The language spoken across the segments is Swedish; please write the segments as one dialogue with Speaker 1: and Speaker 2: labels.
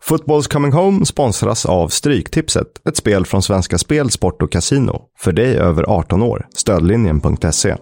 Speaker 1: Footballs Coming Home sponsras av Stryktipset, ett spel från Svenska Spel, Sport och Casino. För dig över 18 år, stödlinjen.se.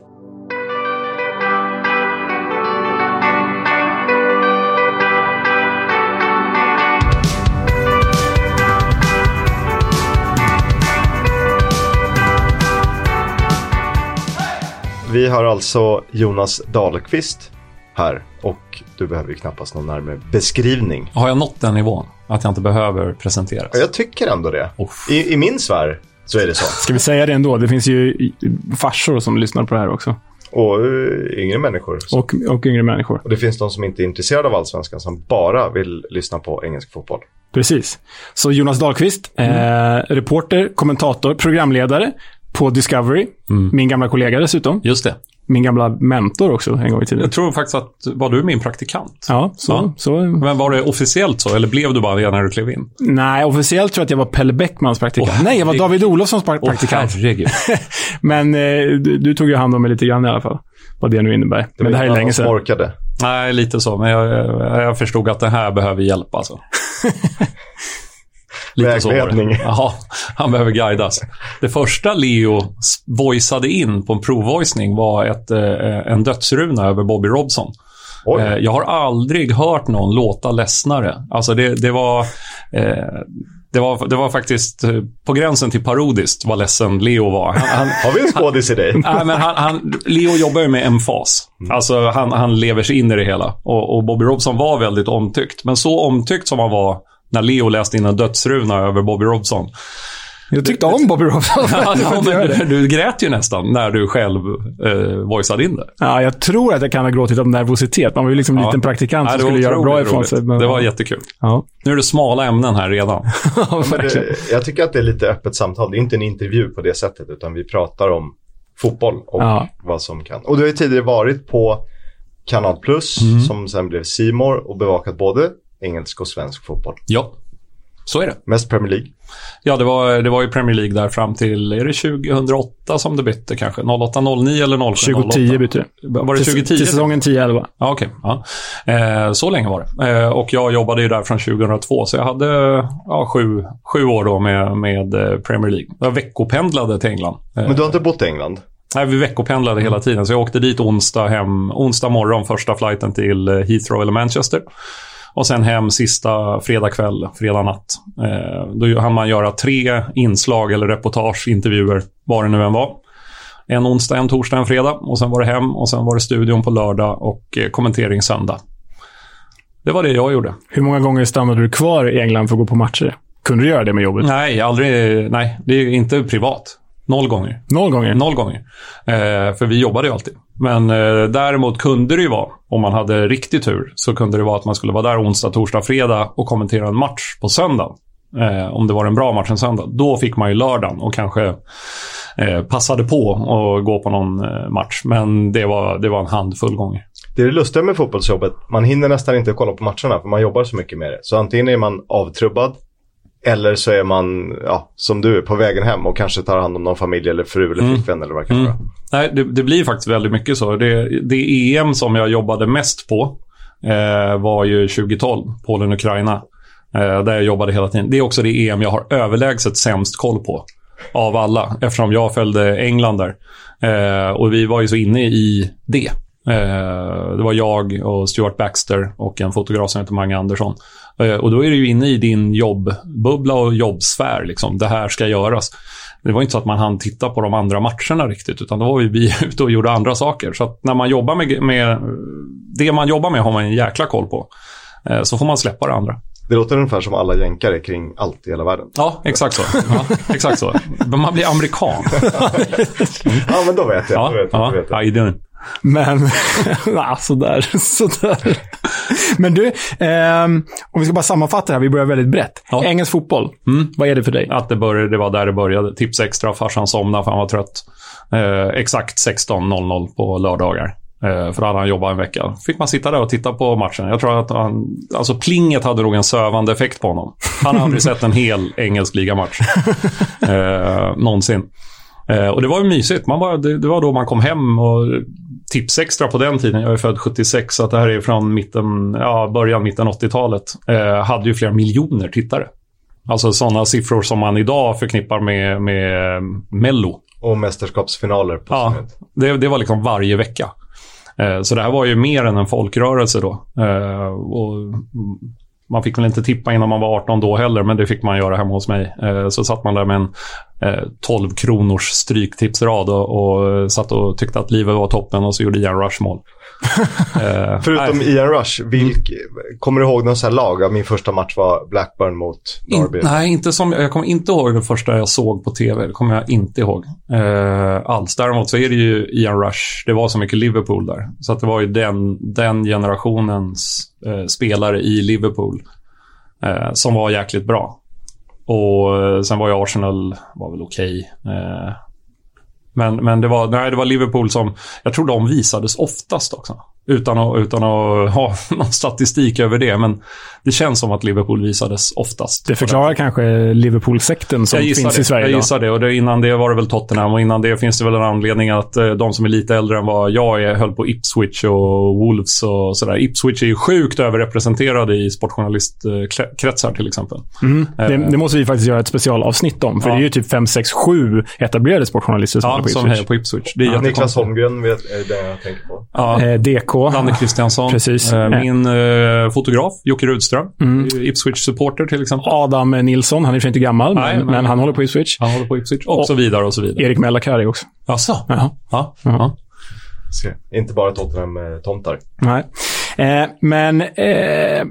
Speaker 1: Vi har alltså Jonas Dahlqvist här och du behöver ju knappast någon närmare beskrivning.
Speaker 2: Har jag nått den nivån? Att jag inte behöver presenteras?
Speaker 1: Jag tycker ändå det.
Speaker 2: Uff.
Speaker 1: I, i min sfär så är det så.
Speaker 3: Ska vi säga det ändå? Det finns ju farsor som lyssnar på det här också.
Speaker 1: Och eh, yngre människor. Så.
Speaker 3: Och, och yngre människor.
Speaker 1: Och det finns de som inte är intresserade av allsvenskan som bara vill lyssna på engelsk fotboll.
Speaker 3: Precis. Så Jonas Dahlqvist,
Speaker 2: Mm.
Speaker 3: eh, reporter, kommentator, programledare på Discovery.
Speaker 2: Mm.
Speaker 3: Min gamla kollega dessutom.
Speaker 2: Just det.
Speaker 3: Min gamla mentor också en gång i tiden.
Speaker 2: Jag tror faktiskt att, var du min praktikant?
Speaker 3: Ja, så.
Speaker 2: Ja.
Speaker 3: så.
Speaker 2: Men var det officiellt så, eller blev du bara det när du klev in?
Speaker 3: Nej, officiellt tror jag att jag var Pelle Bäckmans praktikant.
Speaker 2: Åh,
Speaker 3: Nej, jag var
Speaker 2: herregud.
Speaker 3: David Olofssons pra-
Speaker 2: Åh,
Speaker 3: praktikant.
Speaker 2: herregud.
Speaker 3: Men eh, du, du tog ju hand om mig lite grann i alla fall. Vad det nu innebär. Men det här är länge sedan.
Speaker 1: Orkade.
Speaker 2: Nej, lite så. Men jag, jag- jag förstod att det här behöver hjälp alltså. lite så var det.
Speaker 1: Vägledning.
Speaker 2: Jaha, han behöver guidas. Det första Leo s- voiceade in på en provvoicning var ett, eh, en dödsruna över Bobby Robson.
Speaker 1: Oj.
Speaker 2: Eh, Jag har aldrig hört någon låta ledsnare. Alltså det, det var... Eh, det var, det var faktiskt eh, på gränsen till parodiskt vad ledsen Leo var. Han, han,
Speaker 1: Har vi en skådis i dig?
Speaker 2: Nej, men han, han, Leo jobbar ju med emfas.
Speaker 3: Mm.
Speaker 2: Alltså, han, han lever sig in i det hela. Och, och Bobby Robson var väldigt omtyckt. Men så omtyckt som han var när Leo läste in en dödsruna över Bobby Robson.
Speaker 3: Jag tyckte om Bobby Robson.
Speaker 2: Ja, men du, du grät ju nästan när du själv eh, voiceade in det.
Speaker 3: Ja, jag tror att jag kan ha gråtit av nervositet. Man var ju liksom en
Speaker 2: Ja.
Speaker 3: liten praktikant
Speaker 2: Nej,
Speaker 3: som
Speaker 2: det var
Speaker 3: skulle göra bra
Speaker 2: otroligt
Speaker 3: ifrån
Speaker 2: roligt.
Speaker 3: sig. men-
Speaker 2: Det var jättekul.
Speaker 3: Ja,
Speaker 2: Nu är det smala ämnen här redan.
Speaker 3: ja verkligen.
Speaker 1: Det- eh, Jag tycker att det är lite öppet samtal. Det är inte en intervju på det sättet, utan vi pratar om fotboll och
Speaker 3: Ja.
Speaker 1: vad som kan. Och du har ju tidigare varit på Kanal Plus,
Speaker 3: Mm.
Speaker 1: som sen blev C More och bevakat både engelsk och svensk fotboll.
Speaker 2: ja, så är det.
Speaker 1: Mest Premier League.
Speaker 2: Ja, det var, det var ju Premier League där fram till, är det 2008 som det bytte kanske? 08, 09 eller 07,
Speaker 3: 2010 bytte det.
Speaker 2: Var det
Speaker 3: Till-
Speaker 2: 2010?
Speaker 3: Till säsongen 10-11.
Speaker 2: Ja, okej. Ja. Eh, så länge var det. Eh, och jag jobbade ju där från 2002, så jag hade ja, sju, sju år då med, med eh, Premier League. Jag veckopendlade till England. Eh,
Speaker 1: Men du har inte bott i England?
Speaker 2: nej, vi veckopendlade hela tiden, så jag åkte dit onsdag, hem, onsdag morgon, första flighten till eh, Heathrow eller Manchester. Och sen hem sista fredag kväll, fredag natt. Eh, då hann man göra tre inslag eller reportage, intervjuer, vad det nu än var. En onsdag, en torsdag, en fredag. Och sen var det hem och sen var det studion på lördag och eh, kommentering söndag. Det var det jag gjorde.
Speaker 3: Hur många gånger stannade du kvar i England för att gå på matcher? Kunde du göra det med jobbet?
Speaker 2: Nej, aldrig. Nej, det är inte privat. Noll gånger.
Speaker 3: Noll gånger?
Speaker 2: Noll gånger. Eh, för vi jobbade ju alltid. Men eh, däremot kunde det ju vara, om man hade riktig tur, så kunde det vara att man skulle vara där onsdag, torsdag, fredag och kommentera en match på söndag. Eh, om det var en bra match en söndag. Då fick man ju lördagen och kanske eh, passade på att gå på någon eh, match. Men det var, det var en handfull gånger.
Speaker 1: Det är det lustiga med fotbollsjobbet. Man hinner nästan inte kolla på matcherna för man jobbar så mycket med det. Så antingen är man avtrubbad eller så är man, ja, som du, är, på vägen hem och kanske tar hand om någon familj eller fru
Speaker 2: Mm.
Speaker 1: eller flickvän eller vad det kan vara.
Speaker 2: Nej, det, det blir faktiskt väldigt mycket så. Det, det EM som jag jobbade mest på eh, var ju 2012, Polen-Ukraina. Eh, där jag jobbade hela tiden. Det är också det EM jag har överlägset sämst koll på av alla, eftersom jag följde England där. Eh, och vi var ju så inne i det. Eh, det var jag och Stuart Baxter och en fotograf som heter Mange Andersson. Eh, och då är du ju inne i din jobbbubbla och jobbsfär. Liksom. Det här ska göras. Det var inte så att man hann titta på de andra matcherna riktigt, utan då var ju vi ute och gjorde andra saker. Så att när man jobbar med, med... Det man jobbar med har man en jäkla koll på. Eh, Så får man släppa det andra.
Speaker 1: Det låter ungefär som alla jänkare kring allt i hela världen.
Speaker 2: Ja, exakt så. Ja, exakt så. Men man blir amerikan.
Speaker 1: Ja, men då vet jag.
Speaker 2: Ja,
Speaker 1: Då vet jag,
Speaker 2: ja,
Speaker 1: då vet jag.
Speaker 2: I didn't.
Speaker 3: Men, ja, sådär. sådär. Men du, ehm, om vi ska bara sammanfatta det här. Vi börjar väldigt brett.
Speaker 2: Ja. Mm.
Speaker 3: Engelsk fotboll, vad är det för dig?
Speaker 2: Att det, började, det var där det började. Tips extra, farsan somnade för han var trött. Eh, exakt 16.00 på lördagar. Eh, för då hade han jobbat en vecka. fick man sitta där och titta på matchen. Jag tror att han, alltså plinget hade nog en sövande effekt på honom. Han har aldrig sett en hel engelsk ligamatch. Eh, någonsin. Eh, och det var ju mysigt. Man bara, det, det var då man kom hem och Tipsextra på den tiden, jag är född 76, så att det här är från mitten, ja, början, mitten 80-talet, eh, hade ju flera miljoner tittare. Alltså sådana siffror som man idag förknippar med, med eh, Mello.
Speaker 1: Och mästerskapsfinaler på
Speaker 2: Ja,
Speaker 1: sin höjd.
Speaker 2: det, det var liksom varje vecka. Eh, Så det här var ju mer än en folkrörelse då. Eh, Och mm, man fick väl inte tippa innan man var 18 då heller, men det fick man göra hemma hos mig. Eh, Så satt man där med en 12-kronors stryktipsrad och, och satt och tyckte att livet var toppen och så gjorde Ian Rush mål. Eh,
Speaker 1: Förutom
Speaker 2: nej,
Speaker 1: Ian Rush, vilk, kommer du ihåg någon sån här lag? Ja, Min första match var Blackburn mot Derby.
Speaker 2: in, nej, inte som, jag kommer inte ihåg det första jag såg på tv. Det kommer jag inte ihåg eh, alls. Däremot så är det ju Ian Rush. Det var så mycket Liverpool där. Så att det var ju den, den generationens eh, spelare i Liverpool eh, som var jäkligt bra. Och eh, sen var ju Arsenal var väl okej. Eh, men, men det, var, nej, det var Liverpool som... Jag tror de visades oftast också. Utan att, utan att ha någon statistik över det. Men det känns som att Liverpool visades oftast.
Speaker 3: Det förklarar kanske Liverpool-sekten som
Speaker 2: Jag gissar
Speaker 3: finns
Speaker 2: det.
Speaker 3: i Sverige
Speaker 2: Jag
Speaker 3: idag.
Speaker 2: gissar det. Och det, innan det var det väl Tottenham och innan det finns det väl en anledning att eh, de som är lite äldre än vad jag är höll på Ipswich och Wolves och sådär. Ipswich är ju sjukt överrepresenterade i sportjournalistkretsar till exempel.
Speaker 3: Mm. Det, det måste vi faktiskt göra ett specialavsnitt om. För
Speaker 2: Eh, Ja.
Speaker 3: det är ju typ 5, 6, 7 etablerade sportjournalister som
Speaker 2: Ja,
Speaker 3: är på
Speaker 2: som
Speaker 3: Ipswich.
Speaker 2: hejar på Ipswich. Det är
Speaker 1: Ja, Niklas
Speaker 2: jättekonstigt.
Speaker 1: Holmgren vet, är den jag tänker på.
Speaker 2: Ja.
Speaker 3: Eh, DK.
Speaker 2: Danne Kristiansson.
Speaker 3: Precis.
Speaker 2: Eh,
Speaker 3: Eh.
Speaker 2: Min eh, fotograf, Jocke Rudström. eh,
Speaker 3: Mm.
Speaker 2: Ipswich-supporter till exempel.
Speaker 3: Adam Nilsson. Han är i och för sig inte gammal,
Speaker 2: Nej,
Speaker 3: men,
Speaker 2: men-
Speaker 3: men han håller på Ipswich.
Speaker 2: Han håller på Ipswich. Och så vidare och så vidare.
Speaker 3: Erik Mellakari också.
Speaker 2: Jaså?
Speaker 3: Jaha.
Speaker 2: Ja.
Speaker 3: Mm.
Speaker 2: ja.
Speaker 1: Se. Inte bara Tottenham-tomtar.
Speaker 3: Nej. Eh, men eh,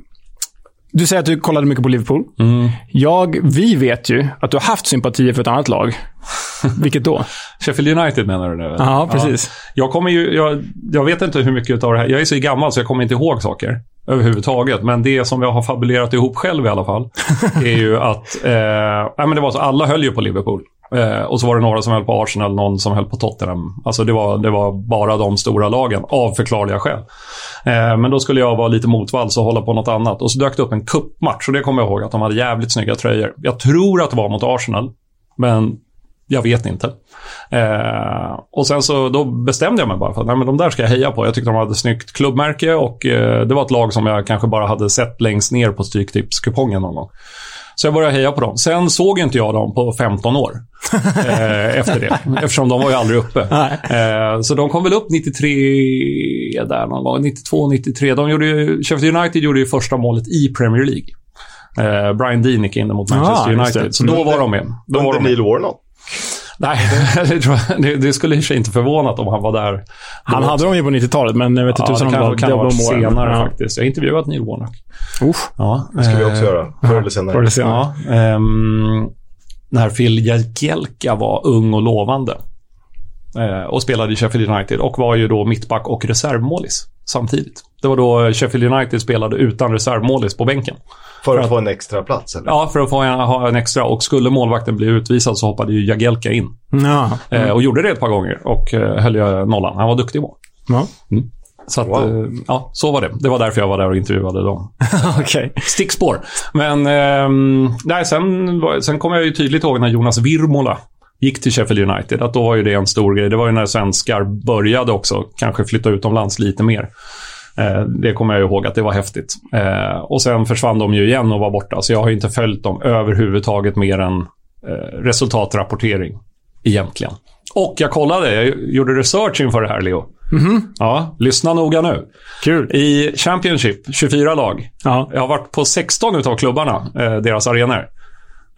Speaker 3: du säger att du kollade mycket på Liverpool.
Speaker 2: Mm.
Speaker 3: Jag, vi vet ju att du har haft sympatier för ett annat lag. Vilket då?
Speaker 2: Sheffield United menar du nu? eller?
Speaker 3: Ja, precis.
Speaker 2: Jag kommer ju, jag, jag vet inte hur mycket av det här, jag är så gammal så jag kommer inte ihåg saker överhuvudtaget. Men det som jag har fabulerat ihop själv i alla fall, är ju att, eh, nej, men det var så, alla höll ju på Liverpool. Eh, och så var det några som höll på Arsenal, någon som höll på Tottenham. Alltså det var, det var bara de stora lagen, av förklarliga skäl. Eh, men då skulle jag vara lite motvalls och hålla på något annat. Och så dök det upp en kuppmatch och det kommer jag ihåg att de hade jävligt snygga tröjor. Jag tror att det var mot Arsenal, men jag vet inte. Eh, och sen så då bestämde jag mig bara för att nej, men de där ska jag heja på. Jag tyckte de hade ett snyggt klubbmärke och eh, det var ett lag som jag kanske bara hade sett längst ner på Stryktipskupongen någon gång. Så jag började heja på dem. Sen såg inte jag dem på 15 år eh, efter det. Eftersom de var ju aldrig uppe. Eh, så de kom väl upp 93 där någon gång. 92, 93. De gjorde ju, Sheffield United gjorde ju första målet i Premier League. Eh, Brian Dean gick in mot Manchester
Speaker 3: Ah, just det.
Speaker 2: United. Så då var de med. Då var
Speaker 1: Under
Speaker 2: de med.
Speaker 1: Neil Warnock.
Speaker 2: Nej, det, tror jag, det, det skulle i och för sig inte förvånat om han var där.
Speaker 3: Han hade dem ju på 90-talet, men jag vet
Speaker 2: Ja,
Speaker 3: inte
Speaker 2: det
Speaker 3: tusan om
Speaker 2: kanske
Speaker 3: det
Speaker 2: kan ha
Speaker 3: var
Speaker 2: varit
Speaker 3: de åren.
Speaker 2: senare
Speaker 3: Ja. eh,
Speaker 2: faktiskt. Jag har intervjuat Neil Warnock.
Speaker 3: Usch,
Speaker 2: Ja,
Speaker 1: Det ska vi också göra. Förr eller senare.
Speaker 3: var det senare.
Speaker 2: Eh, Ja, ehm, när Phil Jagielka var ung och lovande. Eh, och spelade i Sheffield United och var ju då mittback och reservmålis samtidigt. Det var då Sheffield United spelade utan reservmålis på bänken.
Speaker 1: För att få en extra plats eller?
Speaker 2: Ja, för att få en, ha en extra. Och skulle målvakten bli utvisad så hoppade ju Jagielka in.
Speaker 3: Ja.
Speaker 2: Eh, Och gjorde det ett par gånger och eh, höll jag nollan. Han var duktig i mål.
Speaker 3: Ja.
Speaker 2: Så att,
Speaker 1: Wow.
Speaker 2: eh, ja, så var det. Det var därför jag var där och intervjuade dem.
Speaker 3: Okej.
Speaker 2: Stickspår. Men ehm, nej, sen, var- sen kommer jag ju tydligt ihåg när Jonas Virmola gick till Sheffield United. Att då var ju det en stor grej. Det var ju när svenskar började också kanske flytta utomlands lite mer. Eh, det kommer jag ihåg att det var häftigt. Eh, och sen försvann de ju igen och var borta. Så jag har ju inte följt dem överhuvudtaget mer än eh, resultatrapportering egentligen. Och jag kollade, jag gjorde research inför det här Leo. Ja, lyssna noga nu.
Speaker 3: Kul.
Speaker 2: I Championship, 24 lag.
Speaker 3: Ja.
Speaker 2: Jag har varit på 16 utav klubbarna, eh, deras arenor.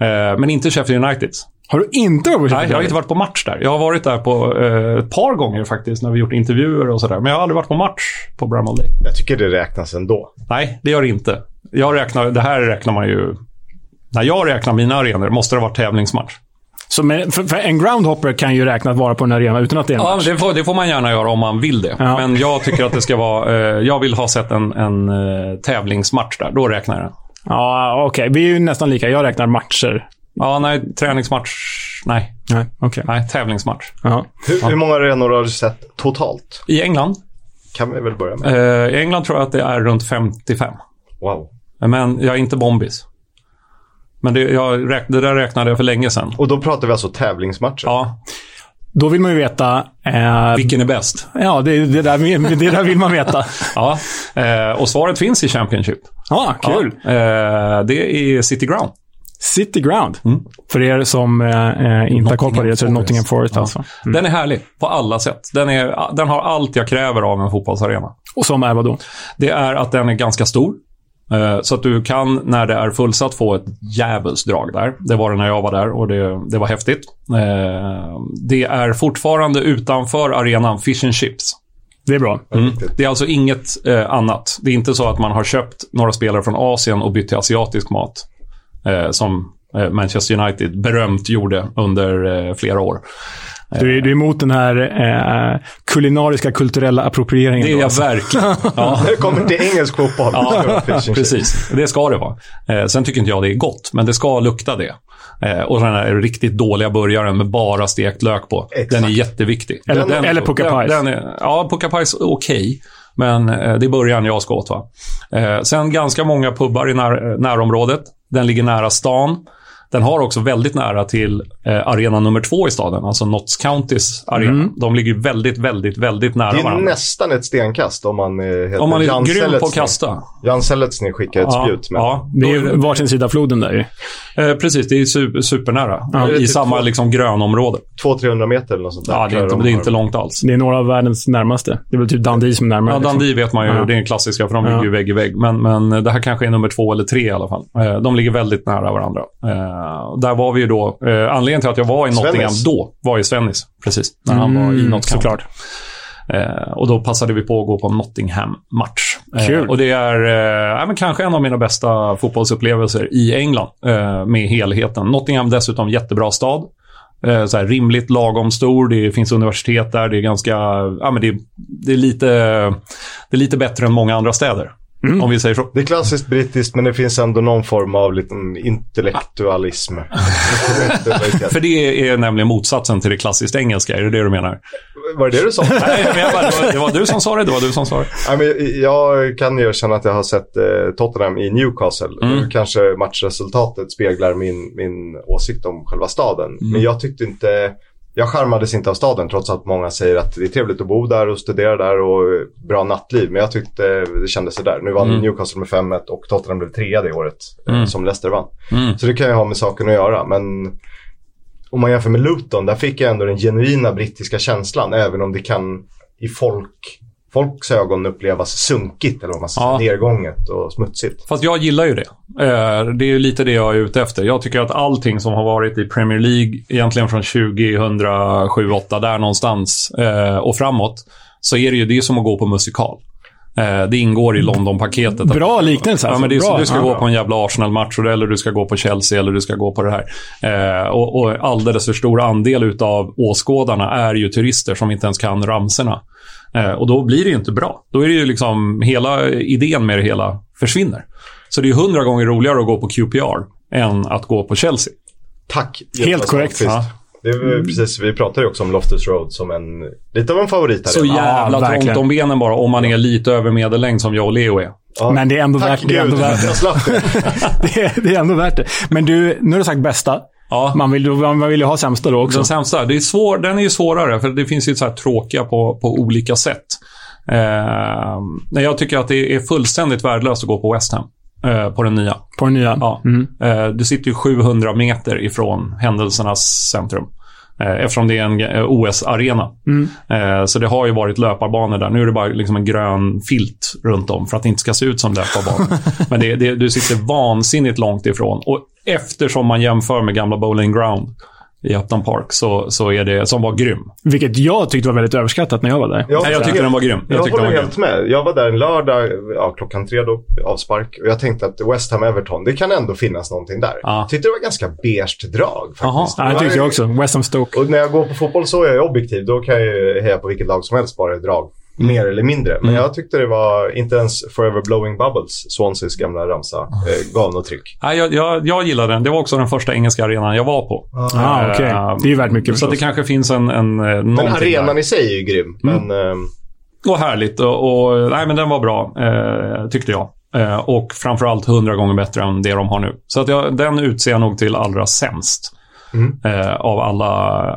Speaker 2: Eh, men inte Sheffield United.
Speaker 3: Har du inte varit på
Speaker 2: Nej, jag har inte varit på match där. Jag har varit där på eh, ett par gånger faktiskt när vi gjort intervjuer och sådär. Men jag har aldrig varit på match på Bramall Day.
Speaker 1: Jag tycker det räknas ändå.
Speaker 2: Nej, det gör det inte. Jag räknar, det här räknar man ju... När jag räknar mina arenor måste det ha varit tävlingsmatch.
Speaker 3: Så med, för, för en groundhopper kan ju räkna att vara på en arena utan att det är en
Speaker 2: Ja,
Speaker 3: match.
Speaker 2: det får, det får man gärna göra om man vill det.
Speaker 3: Ja.
Speaker 2: Men jag tycker att det ska vara... Eh, jag vill ha sett en, en eh, tävlingsmatch där. Då räknar jag den.
Speaker 3: Ja, okej. Vi är ju nästan lika. Jag räknar matcher.
Speaker 2: Ja, nej, träningsmatch... Nej,
Speaker 3: Nej, okej.
Speaker 2: nej, tävlingsmatch.
Speaker 3: Ja.
Speaker 1: Hur, hur många arenor har du sett totalt?
Speaker 2: I England?
Speaker 1: Kan vi väl börja med.
Speaker 2: Eh, I England tror jag att det är runt 55.
Speaker 1: Wow.
Speaker 2: Men jag är inte bombis. Men det, jag räk- det där räknade jag för länge sedan.
Speaker 1: Och då pratar vi alltså tävlingsmatcher.
Speaker 2: Ja,
Speaker 3: Då vill man ju veta... Eh,
Speaker 2: Vilken är bäst?
Speaker 3: ja, det, det, där, det där vill man veta.
Speaker 2: Ja, eh, och svaret finns i Championship.
Speaker 3: Ja, kul.
Speaker 2: Ja, eh, det är City Ground.
Speaker 3: City Ground.
Speaker 2: Mm.
Speaker 3: För er som eh, inte har koll på det så är det Nottingham Forest alltså.
Speaker 2: Den är härlig på alla sätt. Den, är, den har allt jag kräver av en fotbollsarena.
Speaker 3: Och som är vadå?
Speaker 2: Det är att den är ganska stor. Eh, Så att du kan, när det är fullsatt, få ett djävulskt drag där. Det var det när jag var där och det, det var häftigt. Eh, Det är fortfarande utanför arenan Fish and Chips.
Speaker 3: Det är bra.
Speaker 2: Det är alltså inget eh, annat. Det är inte så att man har köpt några spelare från Asien och bytt till asiatisk mat. Eh, som eh, Manchester United berömt gjorde under eh, flera år.
Speaker 3: Du, är- du är emot den här eh, kulinariska kulturella approprieringen.
Speaker 2: Det är
Speaker 3: då,
Speaker 2: jag
Speaker 3: alltså.
Speaker 2: verkligen. Ja.
Speaker 1: När det kommer till engelsk fotboll.
Speaker 2: Ja, precis. Det ska det vara. Eh, sen tycker inte jag det är gott, men det ska lukta det. Eh, och den här riktigt dåliga burgaren med bara stekt lök på.
Speaker 1: Exakt.
Speaker 2: Den är jätteviktig.
Speaker 3: Eller-
Speaker 2: den,
Speaker 3: eller pucka
Speaker 2: den-
Speaker 3: pies.
Speaker 2: den är- Ja, pucka pies är okej. Men eh, det är början jag ska åt. Va? Eh, sen ganska många pubbar i när, närområdet. Den ligger nära stan. Den har också väldigt nära till eh, arena nummer två i staden, alltså Notts Countys arena.
Speaker 3: Mm.
Speaker 2: De ligger ju väldigt, väldigt, väldigt nära
Speaker 1: Det är
Speaker 2: varandra.
Speaker 1: nästan ett stenkast om man eh, heter
Speaker 2: Om man är
Speaker 1: Jan
Speaker 2: grym på att
Speaker 1: Seletsny.
Speaker 2: kasta.
Speaker 1: Jan Seletsny skickar ett spjut med.
Speaker 2: ja,
Speaker 3: Det
Speaker 2: då
Speaker 3: är varsin sida av floden där ju.
Speaker 2: Eh, precis, det är super, supernära.
Speaker 1: det är
Speaker 2: I
Speaker 1: typ
Speaker 2: samma
Speaker 1: två-
Speaker 2: liksom, grönområde.
Speaker 1: 200-300 meter eller något sånt där.
Speaker 2: Ja, det, är inte,
Speaker 1: Klarar de
Speaker 2: det är
Speaker 1: här.
Speaker 2: inte långt alls.
Speaker 3: Det är några av världens närmaste. Det är väl typ Dundee som är närmare.
Speaker 2: Ja,
Speaker 3: liksom.
Speaker 2: Dundee vet man ju,
Speaker 3: Ja.
Speaker 2: det är den klassiska, för de
Speaker 3: Ja.
Speaker 2: ligger ju vägg i vägg. Men, men det här kanske är nummer två eller tre i alla fall. Eh, De ligger väldigt nära varandra. Eh, Där var vi ju då. eh, Anledningen till att jag var i Nottingham
Speaker 1: Svennis.
Speaker 2: då var ju Svennis, precis. När han var i
Speaker 3: Mm,
Speaker 2: Nottingham.
Speaker 3: såklart.
Speaker 2: Eh, Och då passade vi på att gå på en Nottingham-match. Eh,
Speaker 3: Kul.
Speaker 2: Och det är eh, ja, men kanske en av mina bästa fotbollsupplevelser i England eh, med helheten. Nottingham dessutom jättebra stad. Eh, Så här, rimligt lagom stor, det finns universitet där, det är ganska... Ja, men det, det, är lite, det är lite bättre än många andra städer. Om vi säger så.
Speaker 1: Det är klassiskt brittiskt men det finns ändå någon form av liten intellektualism. Intellektualitet.
Speaker 2: För det är nämligen motsatsen till det klassiskt engelska, är det det du menar?
Speaker 1: Var det det du sa?
Speaker 2: Nej, men jag bara, det, var, det var du som sa det, det var du som sa det.
Speaker 1: Nej, men jag kan ju erkänna att jag har sett eh, Tottenham i Newcastle.
Speaker 2: Mm.
Speaker 1: Kanske matchresultatet speglar min, min åsikt om själva staden.
Speaker 2: Mm.
Speaker 1: Men jag tyckte inte... Jag charmades inte av staden trots att många säger att det är trevligt att bo där och studera där och eh, bra nattliv. Men jag tyckte det kändes sådär. Nu vann
Speaker 2: Mm.
Speaker 1: Newcastle med 5-1 och Tottenham blev trea det året eh,
Speaker 2: Mm.
Speaker 1: som Leicester vann.
Speaker 2: Mm.
Speaker 1: Så det kan ju ha med saken att göra. Men om man jämför med Luton, där fick jag ändå den genuina brittiska känslan. Även om det kan i folk, folks ögon upplevas sunkigt eller vad man säger,
Speaker 2: Ja.
Speaker 1: nedgånget och smutsigt.
Speaker 2: Fast jag gillar ju det. Eh, Det är ju lite det jag är ute efter. Jag tycker att allting som har varit i Premier League, egentligen från 2007 8 där någonstans eh, och framåt, så är det ju det är som att gå på musikal. Eh, Det ingår i London-paketet. att-
Speaker 3: Bra liknelse
Speaker 2: Ja,
Speaker 3: alltså.
Speaker 2: men det är
Speaker 3: Bra.
Speaker 2: som du ska
Speaker 3: Ja.
Speaker 2: gå på en jävla Arsenal-match eller du ska gå på Chelsea eller du ska gå på det här. Eh, och, och alldeles för stor andel utav åskådarna är ju turister som inte ens kan ramserna. Eh, och då blir det ju inte bra. Då är det ju liksom hela idén med det hela försvinner. Så det är ju hundra gånger roligare att gå på QPR än att gå på Chelsea.
Speaker 1: Tack!
Speaker 3: Helt
Speaker 1: Jonas
Speaker 3: korrekt,
Speaker 1: Holmqvist.
Speaker 2: ja.
Speaker 1: Det är väl
Speaker 3: Mm.
Speaker 1: precis, vi pratade ju också om Loftus Road som en, lite av en favorit här.
Speaker 2: Så
Speaker 1: redan.
Speaker 2: jävla
Speaker 3: Ja, verkligen.
Speaker 2: trångt om benen bara om man är lite över medellängd som jag och Leo är.
Speaker 1: Ja.
Speaker 3: Men det är ändå
Speaker 1: Tack
Speaker 3: värt det. Är
Speaker 1: gud,
Speaker 3: ändå värt,
Speaker 1: jag slapp det.
Speaker 3: det, är, det är ändå värt det. Men du, nu har du sagt bästa.
Speaker 2: Ja.
Speaker 3: Man vill, man vill ju ha sämsta då också.
Speaker 2: Den sämsta. Det är svår, den är ju svårare, för det finns ju så här tråkiga på, på olika sätt. Eh, nej, jag tycker att det är fullständigt värdelöst att gå på West Ham. Eh, på den nya.
Speaker 3: På den nya.
Speaker 2: Ja. Eh, du sitter ju 700 meter ifrån händelsernas centrum. Eh, eftersom det är en eh, OS-arena.
Speaker 3: Mm.
Speaker 2: Eh, så det har ju varit löparbanor där. Nu är det bara liksom en grön filt runt om för att det inte ska se ut som löparbanor. Men det, det, du sitter vansinnigt långt ifrån. Och eftersom man jämför med gamla Bowling Ground i Upton Park så, så är det, som var grym.
Speaker 3: Vilket jag tyckte var väldigt överskattat när jag var där.
Speaker 1: Ja.
Speaker 2: Nej, jag tyckte den var grym.
Speaker 1: Jag,
Speaker 2: tyckte den var
Speaker 1: håller
Speaker 2: grym.
Speaker 1: helt med. Jag var där en lördag, ja, klockan tre då, avspark. Och jag tänkte att West Ham-Everton, det kan ändå finnas någonting där.
Speaker 2: Ja.
Speaker 1: Tyckte det var ganska beige drag faktiskt.
Speaker 3: Ja, det tyckte jag också. West Ham Stoke.
Speaker 1: Och när jag går på fotboll så är jag objektiv. Då kan jag ju heja på vilket lag som helst, bara det är drag. Mer eller mindre. Men
Speaker 2: Mm.
Speaker 1: jag tyckte det var inte ens Forever Blowing Bubbles, Swanseas gamla ramsa, eh, gav något tryck.
Speaker 2: Nej, jag, jag, jag gillade den. Det var också den första engelska arenan jag var på.
Speaker 3: Ah, okej.
Speaker 2: Eh,
Speaker 3: Det är ju värt mycket
Speaker 2: Så att det
Speaker 3: förstås.
Speaker 2: kanske finns en, en eh,
Speaker 1: Men
Speaker 2: någonting där. Mm.
Speaker 1: arenan i sig är ju grym. Men ehm,
Speaker 2: och härligt. Och, och, nej, men den var bra, eh, tyckte jag. Eh, och framförallt hundra gånger bättre än det de har nu.
Speaker 3: Mm.
Speaker 2: Så att jag, den utser jag nog till allra sämst eh, av alla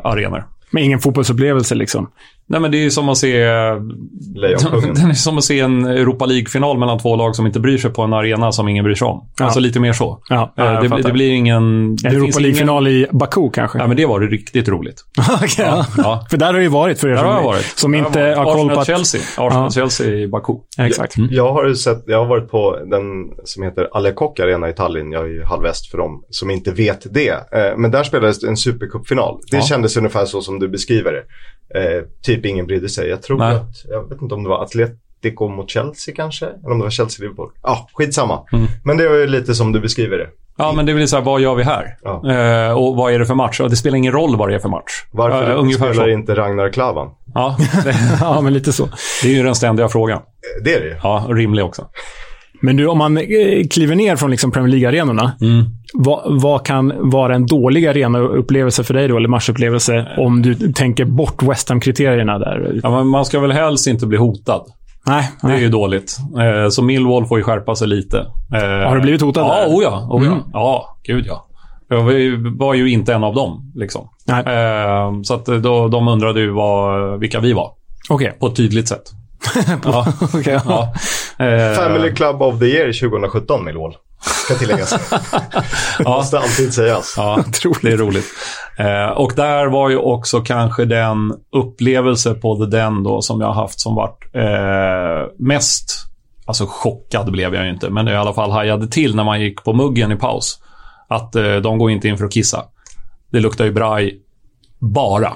Speaker 2: arenor.
Speaker 3: Men ingen fotbollsupplevelse liksom.
Speaker 2: Nej, men det är ju som att se...
Speaker 1: Lejonkungen.
Speaker 2: Den är som att se en Europa League-final mellan två lag som inte bryr sig på en arena som ingen bryr sig om.
Speaker 3: Ja.
Speaker 2: Alltså lite mer så.
Speaker 3: Ja,
Speaker 2: Eh,
Speaker 3: jag
Speaker 2: det,
Speaker 3: fattar.
Speaker 2: det blir ingen... Det finns
Speaker 3: Europa
Speaker 2: ingen-
Speaker 3: League-final i Baku kanske?
Speaker 2: Ja, men det var det riktigt roligt.
Speaker 3: Okej, ja.
Speaker 2: Ja.
Speaker 3: För där har det ju varit för er
Speaker 2: Där
Speaker 3: som,
Speaker 2: har jag varit.
Speaker 3: som
Speaker 2: Där
Speaker 3: inte
Speaker 2: jag
Speaker 3: har
Speaker 2: varit.
Speaker 3: koll på att...
Speaker 2: Arsenal-Chelsea. Mm. Arsenal-Chelsea i Baku.
Speaker 3: Exakt.
Speaker 1: Jag har, ju sett, jag har varit på den som heter Alekok Arena i Tallinn. Jag är ju halväst för dem som inte vet det. Eh, Men där spelades en supercupfinal. Det
Speaker 2: Ja.
Speaker 1: kändes ungefär så som du beskriver det. Eh, typ ingen brydde sig. Jag tror
Speaker 2: Nej.
Speaker 1: att, jag vet inte om det var Atletico mot Chelsea kanske? Eller om det var Chelsea-Liverpool? Ja, ah, skitsamma.
Speaker 2: Mm.
Speaker 1: Men det var ju lite som du beskriver det.
Speaker 2: Ja, men det blir så här, vad gör vi här?
Speaker 1: Ja.
Speaker 2: Eh, och vad är det för match? Ja, Det spelar ingen roll vad det är för match.
Speaker 1: Varför
Speaker 2: Eh, ungefär
Speaker 1: spelar
Speaker 2: så.
Speaker 1: inte Ragnar Klavan?
Speaker 2: Ja, det,
Speaker 3: ja, men lite så.
Speaker 2: det är ju den ständiga frågan.
Speaker 1: Eh, Det är det ju.
Speaker 2: Ja, rimlig också.
Speaker 3: Men du, om man eh, kliver ner från liksom Premier League-arenorna, vad, vad kan vara en dålig arenaupplevelse för dig då, eller matchupplevelse, om du tänker bort West Ham-kriterierna där?
Speaker 2: Ja, men man ska väl helst inte bli hotad.
Speaker 3: Nej,
Speaker 2: Det är
Speaker 3: nej.
Speaker 2: ju dåligt. Eh, så Millwall får ju skärpa sig lite. Eh,
Speaker 3: Har du blivit hotad
Speaker 2: Ja,
Speaker 3: där? Mm.
Speaker 2: oh ja. Oh ja. ja, gud ja. Jag var ju, var ju inte en av dem. Liksom.
Speaker 3: Nej.
Speaker 2: Eh, så att då, de undrade ju vad, vilka vi var,
Speaker 3: Okej.
Speaker 2: på ett tydligt sätt. ja,
Speaker 3: Okej, ja.
Speaker 2: ja. Eh,
Speaker 1: Family Club of the Year 2017 Millwall. Ska tilläggas. Det
Speaker 2: Ja.
Speaker 1: måste alltid sägas.
Speaker 2: Ja, det är roligt. Eh, och där var ju också kanske den upplevelse på The Den då som jag har haft som varit eh, mest... Alltså chockad blev jag ju inte, men i alla fall hajade till när man gick på muggen i paus. Att eh, de går inte in för att kissa. Det luktar ju braj bara.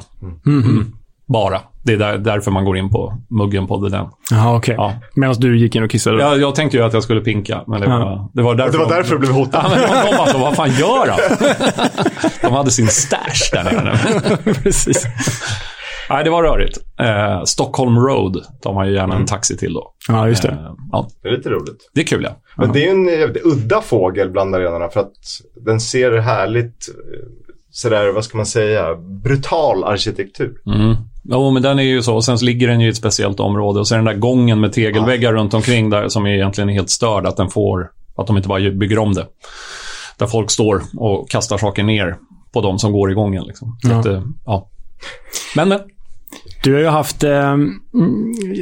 Speaker 2: Mm. Bara. Det är där, därför man går in på muggen på The Den.
Speaker 3: Jaha, okej.
Speaker 2: Ja.
Speaker 3: Medan du gick in och kissade.
Speaker 2: Jag, jag tänkte ju att jag skulle pinka, men det var, det var därför...
Speaker 1: Det var därför du blev hotad.
Speaker 2: Ja, men de kom alltså, vad fan gör han? De hade sin stash där nere.
Speaker 3: Precis.
Speaker 2: Nej, det var rörigt. Eh, Stockholm Road tar man ju gärna en taxi till då.
Speaker 3: Ja, just det.
Speaker 2: Eh, ja,
Speaker 1: Det är lite roligt.
Speaker 2: det är kul ja.
Speaker 1: Men det är ju en jävligt udda fågel bland arenorna för att den ser härligt, eh, sådär, vad ska man säga, brutal arkitektur.
Speaker 2: Mm. Jo, men den är ju så. Och sen så ligger den ju i ett speciellt område. Och så är den där gången med tegelväggar runt omkring där som är egentligen helt störd. Att den får, att de inte bara bygger om det. Där folk står och kastar saker ner på de som går i gången. Liksom. Så
Speaker 3: Ja.
Speaker 2: Att, eh, ja. Men, men.
Speaker 3: Du har ju haft, eh, mm,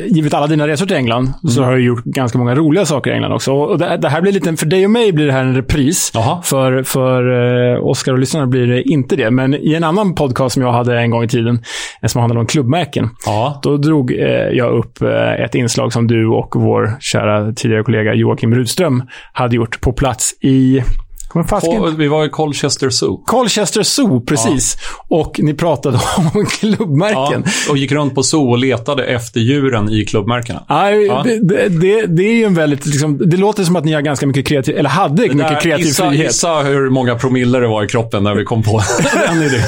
Speaker 3: givet alla dina resor till England,
Speaker 2: Mm.
Speaker 3: så har du gjort ganska många roliga saker i England också. Och det, det här blir lite, för dig och mig blir det här en repris.
Speaker 2: Jaha.
Speaker 3: För, för eh, Oscar och lyssnarna blir det inte det. Men i en annan podcast som jag hade en gång i tiden, eh, som handlade om klubbmärken,
Speaker 2: Ja.
Speaker 3: då drog eh, jag upp eh, ett inslag som du och vår kära tidigare kollega Joakim Rudström hade gjort på plats i... Kommer fasken
Speaker 2: Och vi var i Colchester Zoo.
Speaker 3: Colchester Zoo, precis. Och ni pratade om
Speaker 2: Ja,
Speaker 3: klubbmärken.
Speaker 2: och gick runt på zoo och letade efter djuren i klubbmärkena.
Speaker 3: Nej,
Speaker 2: Ja.
Speaker 3: det, det, det, det är ju en väldigt... Liksom, det låter som att ni har ganska mycket kreativ... Eller hade mycket kreativ
Speaker 2: gissa,
Speaker 3: frihet.
Speaker 2: Gissa hur många promille det var i kroppen när vi kom på den idén.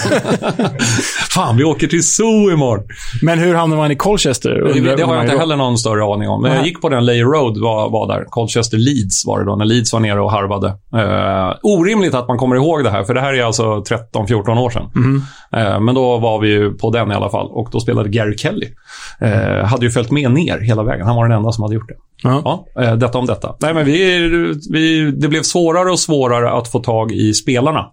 Speaker 2: Fan, vi åker till zoo imorgon.
Speaker 3: Men hur hamnade man i Colchester? Undrar
Speaker 2: Det har jag
Speaker 3: man ju
Speaker 2: inte
Speaker 3: då.
Speaker 2: heller någon större aning om. Men jag
Speaker 3: Nej.
Speaker 2: gick på den Lay Road var, var där. Colchester Leeds var det då, när Leeds var nere och harvade. Eh, orimligt att man kommer ihåg det här, för det här är alltså 13-14 år sedan.
Speaker 3: Mhm.
Speaker 2: Eh, men då var vi ju på den i alla fall och då spelade Gary Kelly. Eh, hade ju följt med ner hela vägen. Han var den enda som hade gjort det.
Speaker 3: Ja.
Speaker 2: Ja, eh, detta om detta. Nej, men vi, vi, det blev svårare och svårare att få tag i spelarna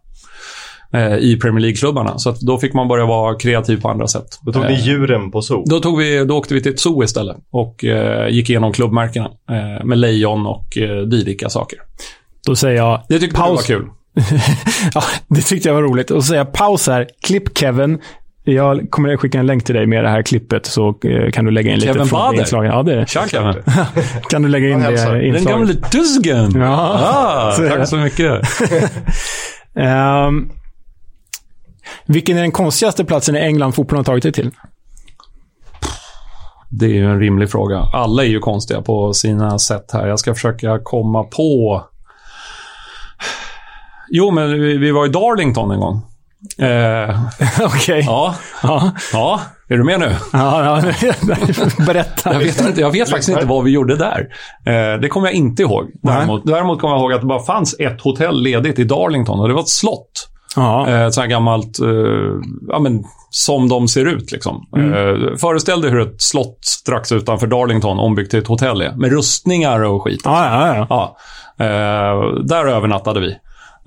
Speaker 2: eh, i Premier League-klubbarna. Så att då fick man börja vara kreativ på andra sätt.
Speaker 1: Då tog ni djuren på zoo.
Speaker 2: Eh. Då, tog vi, då åkte vi till ett zoo istället och eh, gick igenom klubbmärkena eh, med lejon och eh, dylika saker.
Speaker 3: Då säger jag...
Speaker 2: Det tyckte
Speaker 3: Paus.
Speaker 2: du var kul.
Speaker 3: ja, det tyckte jag var roligt. Och så säger jag paus här. Klipp Kevin. Jag kommer att skicka en länk till dig med det här klippet så eh, kan du lägga in lite
Speaker 2: Kevin
Speaker 3: från
Speaker 2: Bader?
Speaker 3: inslagen. Ja, det är det.
Speaker 2: Tja, Kevin.
Speaker 3: Kan du lägga in
Speaker 1: Han hälsar.
Speaker 3: det
Speaker 2: Den gamle
Speaker 3: inslaget?
Speaker 2: tusken.
Speaker 3: Ja.
Speaker 2: Ah,
Speaker 3: Så är det.
Speaker 2: tack så mycket.
Speaker 3: Ehm, vilken är den konstigaste platsen i England fotbollen har tagit dig till?
Speaker 2: Det är ju en rimlig fråga. Alla är ju konstiga på sina sätt här. Jag ska försöka komma på... Jo, men vi, vi var i Darlington en gång. Eh,
Speaker 3: Okej.
Speaker 2: ja,
Speaker 3: Ja.
Speaker 2: ja, är du med nu?
Speaker 3: Ja, ja. Berätta.
Speaker 2: Jag vet, inte, jag vet faktiskt inte vad vi gjorde där. Eh, det kommer jag inte ihåg. Däremot, däremot kommer jag ihåg att det bara fanns ett hotell ledigt i Darlington och det var ett slott.
Speaker 3: Ja.
Speaker 2: Eh, Ett sånt här gammalt, eh, ja men som de ser ut liksom. Eh, föreställ dig hur ett slott strax utanför Darlington ombyggt till ett hotell är. Med rustningar och skit.
Speaker 3: Ja, ja, ja.
Speaker 2: Ja. Eh, där övernattade vi.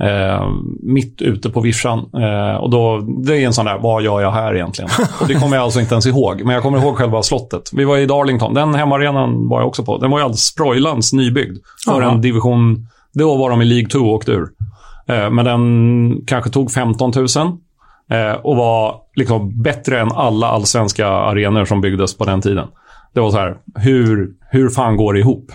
Speaker 2: eh, mitt ute på vischan. Eh, och då, det är en sån där, vad gör jag här egentligen? Och det kommer jag alltså inte ens ihåg, men jag kommer ihåg själva slottet. Vi var i Darlington, den hemmaarenan var jag också på. Den var ju alldeles sproilans nybyggd. För
Speaker 3: Aha.
Speaker 2: en division, då var de i League 2 och åkte ur. Eh, men den kanske tog 15 000. eh, Och var liksom bättre än alla allsvenska arenor som byggdes på den tiden. Det var så här, hur, hur fan går det ihop?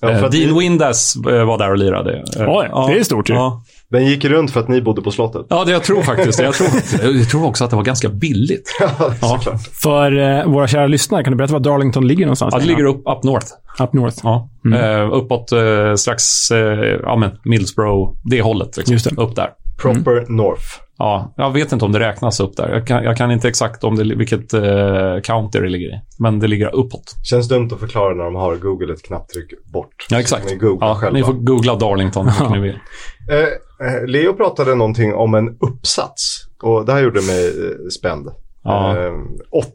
Speaker 1: Ja, för
Speaker 2: Eh,
Speaker 1: att
Speaker 2: Dean
Speaker 1: ni,
Speaker 2: Windass eh, var där och lirade. Eh,
Speaker 3: Oj, det är stort ju.
Speaker 2: Ja,
Speaker 1: den gick runt för att ni bodde på slottet.
Speaker 2: ja det jag tror faktiskt det. Jag tror, jag tror också att det var ganska billigt. Ja,
Speaker 3: För eh, våra kära lyssnare, kan du berätta var Darlington ligger någonstans?
Speaker 2: ja det ligger upp, up north.
Speaker 3: Up north.
Speaker 2: Ja.
Speaker 3: Mm.
Speaker 2: Eh, uppåt eh, strax, eh, ja men Millsboro, det hållet. Liksom.
Speaker 3: Just det.
Speaker 2: Upp där.
Speaker 1: Proper
Speaker 2: Mm.
Speaker 1: North.
Speaker 2: Ja, jag vet inte om det räknas upp där. Jag kan, jag kan inte exakt om det, vilket eh, counter det ligger i. Men det ligger uppåt.
Speaker 1: Känns dumt att förklara när de har Google ett knapptryck bort.
Speaker 2: Ja,
Speaker 1: Så
Speaker 2: exakt.
Speaker 1: kan Ni googla
Speaker 2: Ja,
Speaker 1: själva.
Speaker 2: ni får googla Darlington om ni vill.
Speaker 1: Eh, eh, Leo pratade någonting om en uppsats. Och det här gjorde mig eh, spänd.
Speaker 2: Ja.
Speaker 1: Eh,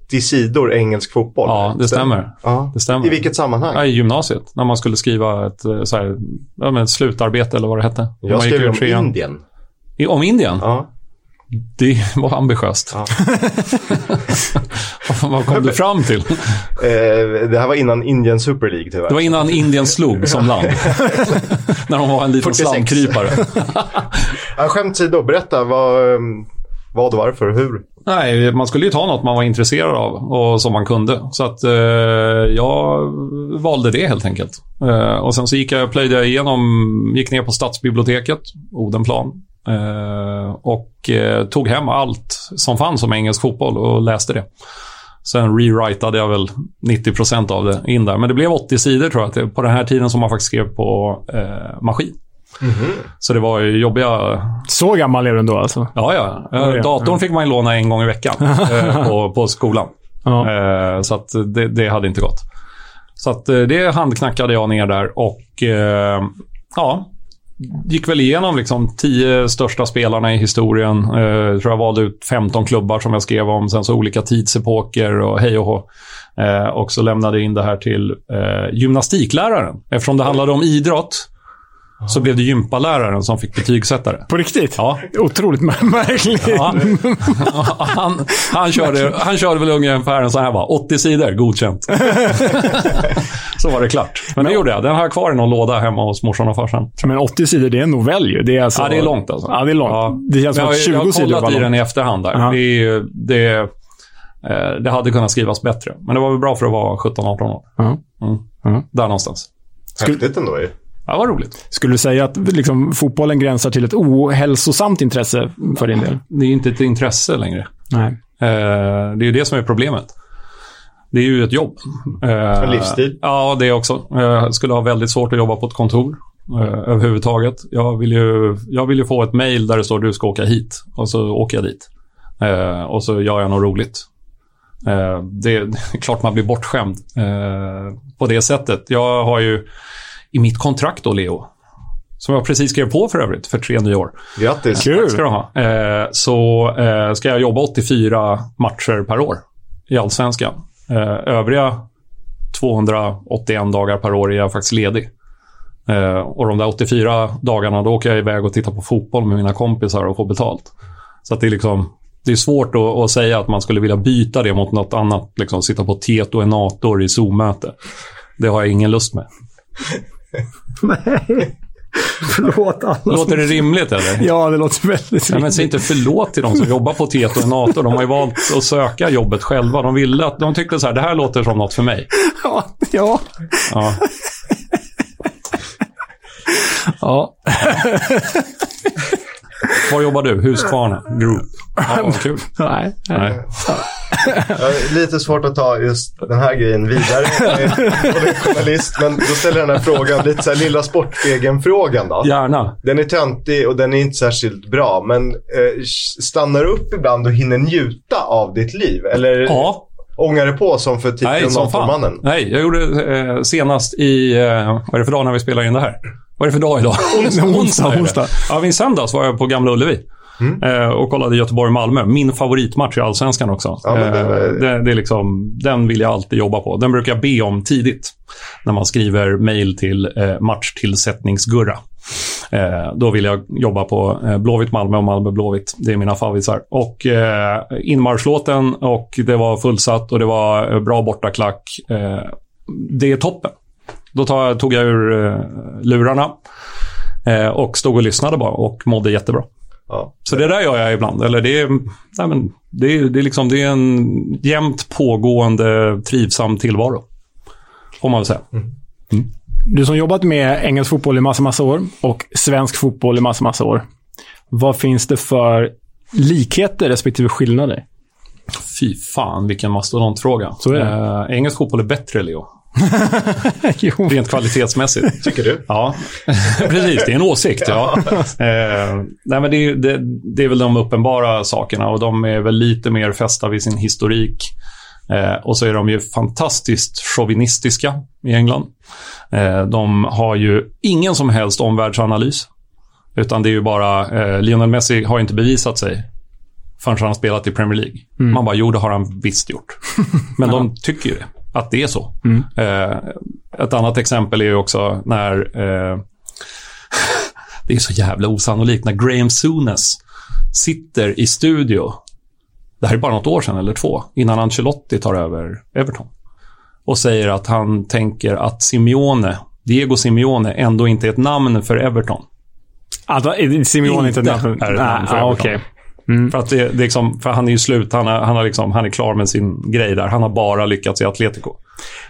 Speaker 1: 80 sidor engelsk fotboll.
Speaker 2: Ja, det stämmer.
Speaker 1: Ja.
Speaker 2: Det stämmer.
Speaker 1: I vilket sammanhang?
Speaker 2: Ja, I gymnasiet, när man skulle skriva ett, eh, så här, ja, men ett slutarbete eller vad det hette.
Speaker 1: Jag
Speaker 2: Man gick
Speaker 1: skrev
Speaker 2: ur
Speaker 1: om
Speaker 2: trean.
Speaker 1: Indien.
Speaker 2: I- Om Indien?
Speaker 1: Ja.
Speaker 2: Det var ambitiöst.
Speaker 1: Ja.
Speaker 2: vad kom du fram till?
Speaker 1: Eh, det här var innan Indian Super League tyvärr.
Speaker 2: Det var innan Indien slog som land. när de var en liten
Speaker 1: 46.
Speaker 2: slamkrypare.
Speaker 1: Ja, skämt åsido, berätta. Vad, eh, vad, varför, hur?
Speaker 2: Nej, man skulle ju ta något man var intresserad av och som man kunde. Så att eh, jag valde det helt enkelt. Eh, och sen så gick jag, plöjde jag igenom, gick ner på stadsbiblioteket, Odenplan. Eh, och eh, tog hem allt som fanns om engelsk fotboll och läste det. Sen rewritade jag väl 90 av det in där. Men det blev 80 sidor tror jag, att det- på den här tiden som man faktiskt skrev på eh, maskin. Så det var ju jobbiga
Speaker 3: Så gammal är du ändå alltså?
Speaker 2: Ja, ja. Eh,
Speaker 3: Ja, ja.
Speaker 2: Datorn fick man ju låna en gång i veckan eh, på, på skolan.
Speaker 3: Ja.
Speaker 2: Eh, Så att det, det hade inte gått. Så att eh, det handknackade jag ner där och eh, ja, gick väl igenom liksom tio största spelarna i historien. Eh, tror jag valde ut 15 klubbar som jag skrev om. Sen så olika tidsepoker och hej och hå. Eh, och så lämnade jag in det här till eh, gymnastikläraren. Eftersom det handlade om idrott så blev det gympaläraren som fick betygsättare.
Speaker 3: På riktigt?
Speaker 2: Ja,
Speaker 3: Otroligt mär- märkligt.
Speaker 2: Ja. han, han, körde, han körde väl ungefär en sån här va, 80 sidor, godkänt. så var det klart. Men det gjorde jag. Den har jag kvar i någon låda hemma hos morsan och farsan.
Speaker 3: Men 80 sidor, det är en novell ju. Det är, alltså...
Speaker 2: Ja, det är långt alltså.
Speaker 3: Ja, det är långt.
Speaker 2: Ja.
Speaker 3: Det känns
Speaker 2: Jag,
Speaker 3: som
Speaker 2: har-
Speaker 3: att 20
Speaker 2: jag har
Speaker 3: sidor
Speaker 2: kollat i
Speaker 3: var
Speaker 2: den
Speaker 3: långt.
Speaker 2: i efterhand där.
Speaker 3: Ja.
Speaker 2: Det, är ju- det, eh, det hade kunnat skrivas bättre. Men det var väl bra för att vara 17-18 år.
Speaker 3: Ja.
Speaker 2: Mm.
Speaker 3: Ja.
Speaker 2: Där någonstans.
Speaker 3: Skulle-
Speaker 1: Häftigt ändå ju.
Speaker 2: Ja, det var roligt.
Speaker 3: Skulle du säga att liksom, fotbollen gränsar till ett ohälsosamt intresse för din del?
Speaker 2: Det är ju inte ett intresse längre.
Speaker 3: Nej.
Speaker 2: Eh, det är ju det som är problemet. Det är ju ett jobb. Eh,
Speaker 1: En livsstil.
Speaker 2: Ja, det också. Eh, Jag skulle ha väldigt svårt att jobba på ett kontor eh, överhuvudtaget. Jag vill, ju, jag vill ju få ett mejl där det står du ska åka hit och så åker jag dit. Eh, och så gör jag något roligt. Eh, det, är- det är klart man blir bortskämd eh, på det sättet. Jag har ju i mitt kontrakt då, Leo, som jag precis skrev på för övrigt, för tre nya år.
Speaker 1: Grattis.
Speaker 3: Kul!
Speaker 2: Tack ska du ha. Eh, så eh, ska jag jobba 84 matcher per år i Allsvenskan. Eh, övriga 281 dagar per år är jag faktiskt ledig. Eh, och de där 84 dagarna, då åker jag iväg och tittar på fotboll med mina kompisar och får betalt. Så att det är liksom... Det är svårt att, att säga att man skulle vilja byta det mot något annat. Liksom, sitta på Tieto Enator i Zoom-möte. Det har jag ingen lust med.
Speaker 3: Nej. Förlåt alla.
Speaker 2: Låter det rimligt eller?
Speaker 3: Ja, det låter väldigt
Speaker 2: Nej,
Speaker 3: rimligt.
Speaker 2: men säg inte förlåt till de som jobbar på Tieto och Nato. De har ju valt att söka jobbet själva. De ville att, de tyckte så här, det här låter som något för mig.
Speaker 3: Ja. ja.
Speaker 2: Ja.
Speaker 3: ja.
Speaker 2: Var jobbar du? Husqvarna Group. Ja, vad kul.
Speaker 3: Nej.
Speaker 2: Nej.
Speaker 1: Ja, det är lite svårt att ta just den här grejen vidare. Jag är journalist, men då ställer jag den här frågan. Lite så här lilla Sportspegeln-frågan då.
Speaker 2: Gärna.
Speaker 1: Den är töntig och den är inte särskilt bra, men eh, stannar du upp ibland och hinner njuta av ditt liv? Eller
Speaker 2: Ja,
Speaker 1: ångar det på som för
Speaker 2: nej
Speaker 1: titeln
Speaker 2: som
Speaker 1: Nato-mannen?
Speaker 2: fan. Nej, jag gjorde eh, senast i, eh, vad är det för dag när vi spelar in det här? Vad är det för dag idag? Onsdag.
Speaker 3: Onsdag,
Speaker 2: är det.
Speaker 3: onsdag.
Speaker 2: Ja, men i söndags var jag på Gamla Ullevi. eh, och kollade Göteborg-Malmö. Min favoritmatch i Allsvenskan också.
Speaker 1: Ja, men den är-
Speaker 2: Eh, det, det är liksom, den vill jag alltid jobba på. Den brukar jag be om tidigt när man skriver mejl till eh, matchtillsättningsgurra. Eh, då vill jag jobba på eh, Blåvitt Malmö och Malmö Blåvitt. Det är mina favvisar. Och eh, inmarschlåten och det var fullsatt och det var eh, bra bortaklack. Eh, det är toppen. Då tar jag, tog jag ur eh, lurarna eh, och stod och lyssnade bara och mådde jättebra.
Speaker 1: Ja.
Speaker 2: Så det där gör jag ibland. Eller det, är, nej men, det, är, det, är liksom, det är en jämnt pågående trivsam tillvaro. Får man väl säga.
Speaker 3: Mm. Du som jobbat med engelsk fotboll i massa, massa år och svensk fotboll i massa, massa år. Vad finns det för likheter respektive skillnader?
Speaker 2: Fy fan vilken mastodontfråga.
Speaker 3: Så är
Speaker 2: Eh, engelsk fotboll är bättre Leo.
Speaker 3: jo,
Speaker 2: Rent kvalitetsmässigt.
Speaker 1: Tycker du?
Speaker 2: Ja, precis. Det är en åsikt. Ja. Eh, nej, men det, är, ju- det, det är väl de uppenbara sakerna och de är väl lite mer fästa vid sin historik. Eh, och så är de ju fantastiskt chauvinistiska i England. Eh, de har ju ingen som helst omvärldsanalys. Utan det är ju bara, eh, Lionel Messi har inte bevisat sig förrän han har spelat i Premier League. Man bara, jo det har han visst gjort. Men de tycker ju det, att det är så. Eh, ett annat exempel är ju också när, eh, det är så jävla osannolikt, när Graham Souness sitter i studio, det här är bara något år sedan eller två, innan Ancelotti tar över Everton. Och säger att han tänker att Simeone, Diego Simeone ändå inte är ett namn för Everton.
Speaker 3: alltså, är Simeone inte ett
Speaker 2: Inte
Speaker 3: namn
Speaker 2: är ett namn för
Speaker 3: ah,
Speaker 2: Everton.
Speaker 3: okej.
Speaker 2: För, att det, det är liksom, för han är ju slut, han, har, han, har liksom, han är klar med sin grej där. Han har bara lyckats i Atletico.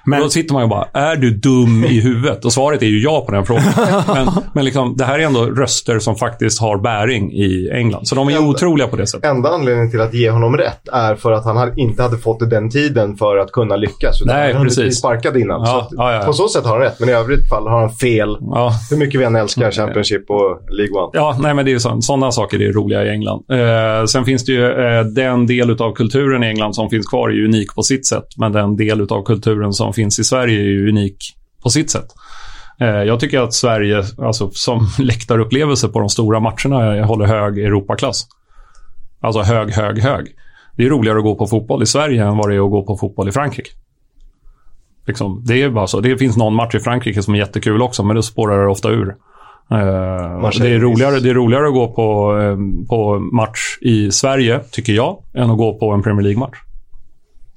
Speaker 3: Men-
Speaker 2: Men, då sitter man ju bara, är du dum i huvudet? Och svaret är ju ja på den frågan. Men, men liksom, det här är ändå röster som faktiskt har bäring i England. Så de är ju otroliga på det sättet.
Speaker 1: Enda anledningen till att ge honom rätt är för att han hade- inte hade fått den tiden för att kunna lyckas. utan
Speaker 2: Nej,
Speaker 1: han hade
Speaker 2: precis.
Speaker 1: blivit sparkad innan.
Speaker 2: Ja,
Speaker 1: så att,
Speaker 2: ja, ja.
Speaker 1: På så sätt har han rätt, men i övrigt fall har han fel.
Speaker 2: Ja.
Speaker 1: Hur mycket vi än älskar Championship och League One.
Speaker 2: Ja, nej, men det är ju så, sådana saker är roliga i England. Eh, sen finns det ju eh, den del av kulturen i England som finns kvar är ju unik på sitt sätt. Men den del av kulturen som finns i Sverige är ju unik på sitt sätt. Eh, jag tycker att Sverige, alltså, som läktarupplevelse på de stora matcherna, eh, håller hög Europaklass. Alltså hög, hög, hög. Det är roligare att gå på fotboll i Sverige än vad det är att gå på fotboll i Frankrike. Liksom, det är bara så. Det finns någon match i Frankrike som är jättekul också, men då spårar det ofta ur. Eh,
Speaker 1: Man säger
Speaker 2: det, är
Speaker 1: miss.
Speaker 2: roligare, det är roligare att gå på, eh, på match i Sverige, tycker jag, än att gå på en Premier League-match.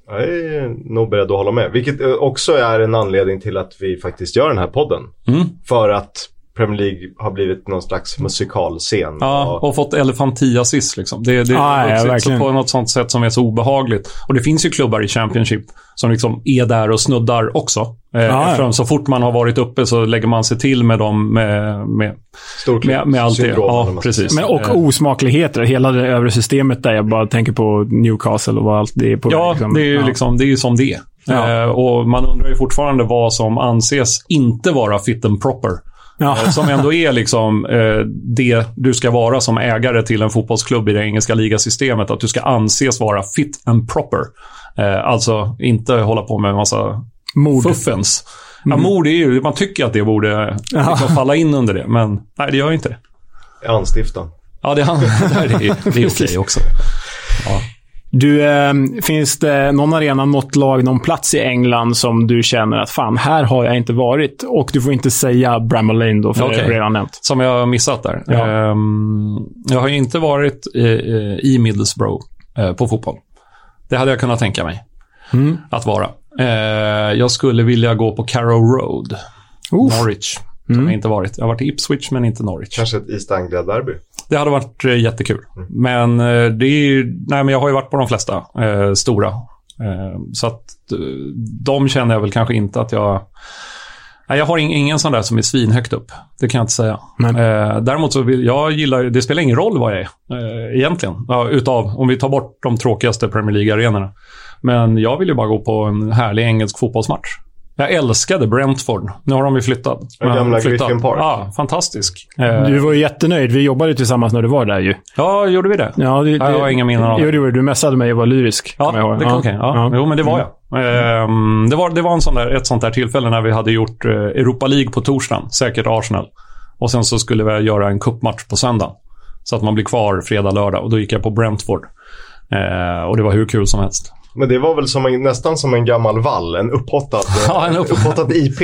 Speaker 1: Jag är nog beredd att hålla med. Vilket eh, också är en anledning till att vi faktiskt gör den här podden.
Speaker 2: Mm.
Speaker 1: För att Premier League har blivit någon slags musikalscen.
Speaker 2: Ja,
Speaker 1: och,
Speaker 2: och fått elefantiasis. Liksom. Det, det har
Speaker 3: Ah, ja,
Speaker 2: vuxit så
Speaker 3: verkligen.
Speaker 2: på något sånt sätt som är så obehagligt. Och det finns ju klubbar i Championship som liksom är där och snuddar också. Eh,
Speaker 3: ja.
Speaker 2: eftersom så fort man har varit uppe så lägger man sig till med dem med, med,
Speaker 1: stort
Speaker 2: med, med allt det.
Speaker 1: syndrom, eller vad
Speaker 2: Ja,
Speaker 1: man ska
Speaker 2: precis.
Speaker 3: Men, och
Speaker 2: Eh,
Speaker 3: osmakligheter. Hela det övre systemet där. Jag bara tänker på Newcastle och vad allt det är på
Speaker 2: Ja,
Speaker 3: väg, liksom.
Speaker 2: det är ju
Speaker 3: Ja.
Speaker 2: liksom, det är ju som det är.
Speaker 3: Ja.
Speaker 2: Eh, och man undrar ju fortfarande vad som anses inte vara fit and proper.
Speaker 3: Ja.
Speaker 2: Eh, Som ändå är liksom eh, det du ska vara som ägare till en fotbollsklubb i det engelska ligasystemet. Att du ska anses vara fit and proper. Eh, alltså inte hålla på med en massa
Speaker 3: Mord.
Speaker 2: fuffens. Ja, mord är ju, man tycker att det borde liksom falla in under det, men nej, det gör ju inte det.
Speaker 1: säga. Anstiftan.
Speaker 2: Ja, det, är- det är, det är okej också.
Speaker 3: Du, eh, finns det någon arena, något lag, någon plats i England som du känner att fan, här har jag inte varit? Och du får inte säga Bramall Lane då, för det har
Speaker 2: Okej.
Speaker 3: jag redan nämnt.
Speaker 2: Som jag har missat där.
Speaker 3: Ja.
Speaker 2: Ehm, jag har ju inte varit i, i Middlesbrough eh, på fotboll. Det hade jag kunnat tänka mig
Speaker 3: Mm.
Speaker 2: att vara. Eh, jag skulle vilja gå på Carrow Road,
Speaker 3: Oof. Mm.
Speaker 2: Norwich. Som jag inte varit. Jag har varit i Ipswich, men inte Norwich.
Speaker 1: Kanske ett East Anglia-derby.
Speaker 2: Det hade varit eh, jättekul. Men, eh, det är ju, nej, men jag har ju varit på de flesta eh, stora. Eh, så att eh, de känner jag väl kanske inte att jag... Nej, jag har ing- ingen sån där som är svinhögt upp. Det kan jag inte säga.
Speaker 3: Nej.
Speaker 2: Eh, däremot så vill jag gillar ju- det spelar ingen roll vad jag är eh, egentligen. Ja, utav, om vi tar bort de tråkigaste Premier League-arenorna. Men jag vill ju bara gå på en härlig engelsk fotbollsmatch. Jag älskade Brentford. Nu har de ju flyttat.
Speaker 1: Den gamla
Speaker 2: Flyttat.
Speaker 1: Griffin Park.
Speaker 2: Ja, fantastisk. Eh,
Speaker 3: Du var ju jättenöjd. Vi jobbade ju tillsammans när du var där ju.
Speaker 2: Ja, gjorde vi det?
Speaker 3: Ja, det,
Speaker 2: Ja, jag har
Speaker 3: det-
Speaker 2: inga minnen av det.
Speaker 3: Jo, det var det. Du messade mig och var lyrisk.
Speaker 2: Ja,
Speaker 3: kommer jag ihåg.
Speaker 2: det kan okej. Ja. Jo, men det var jag. Ehm, det var, det var en sån där, ett sånt där tillfälle när vi hade gjort eh, Europa League på torsdagen, säkert Arsenal. Och sen så skulle vi göra en cupmatch på söndagen. Så att man blir kvar fredag, lördag. Och då gick jag på Brentford. Eh, och det var hur kul som helst.
Speaker 1: Men det var väl som en, nästan som en gammal vall, en upphottad, eh,
Speaker 2: Ja, en upp-
Speaker 1: upphottad IP.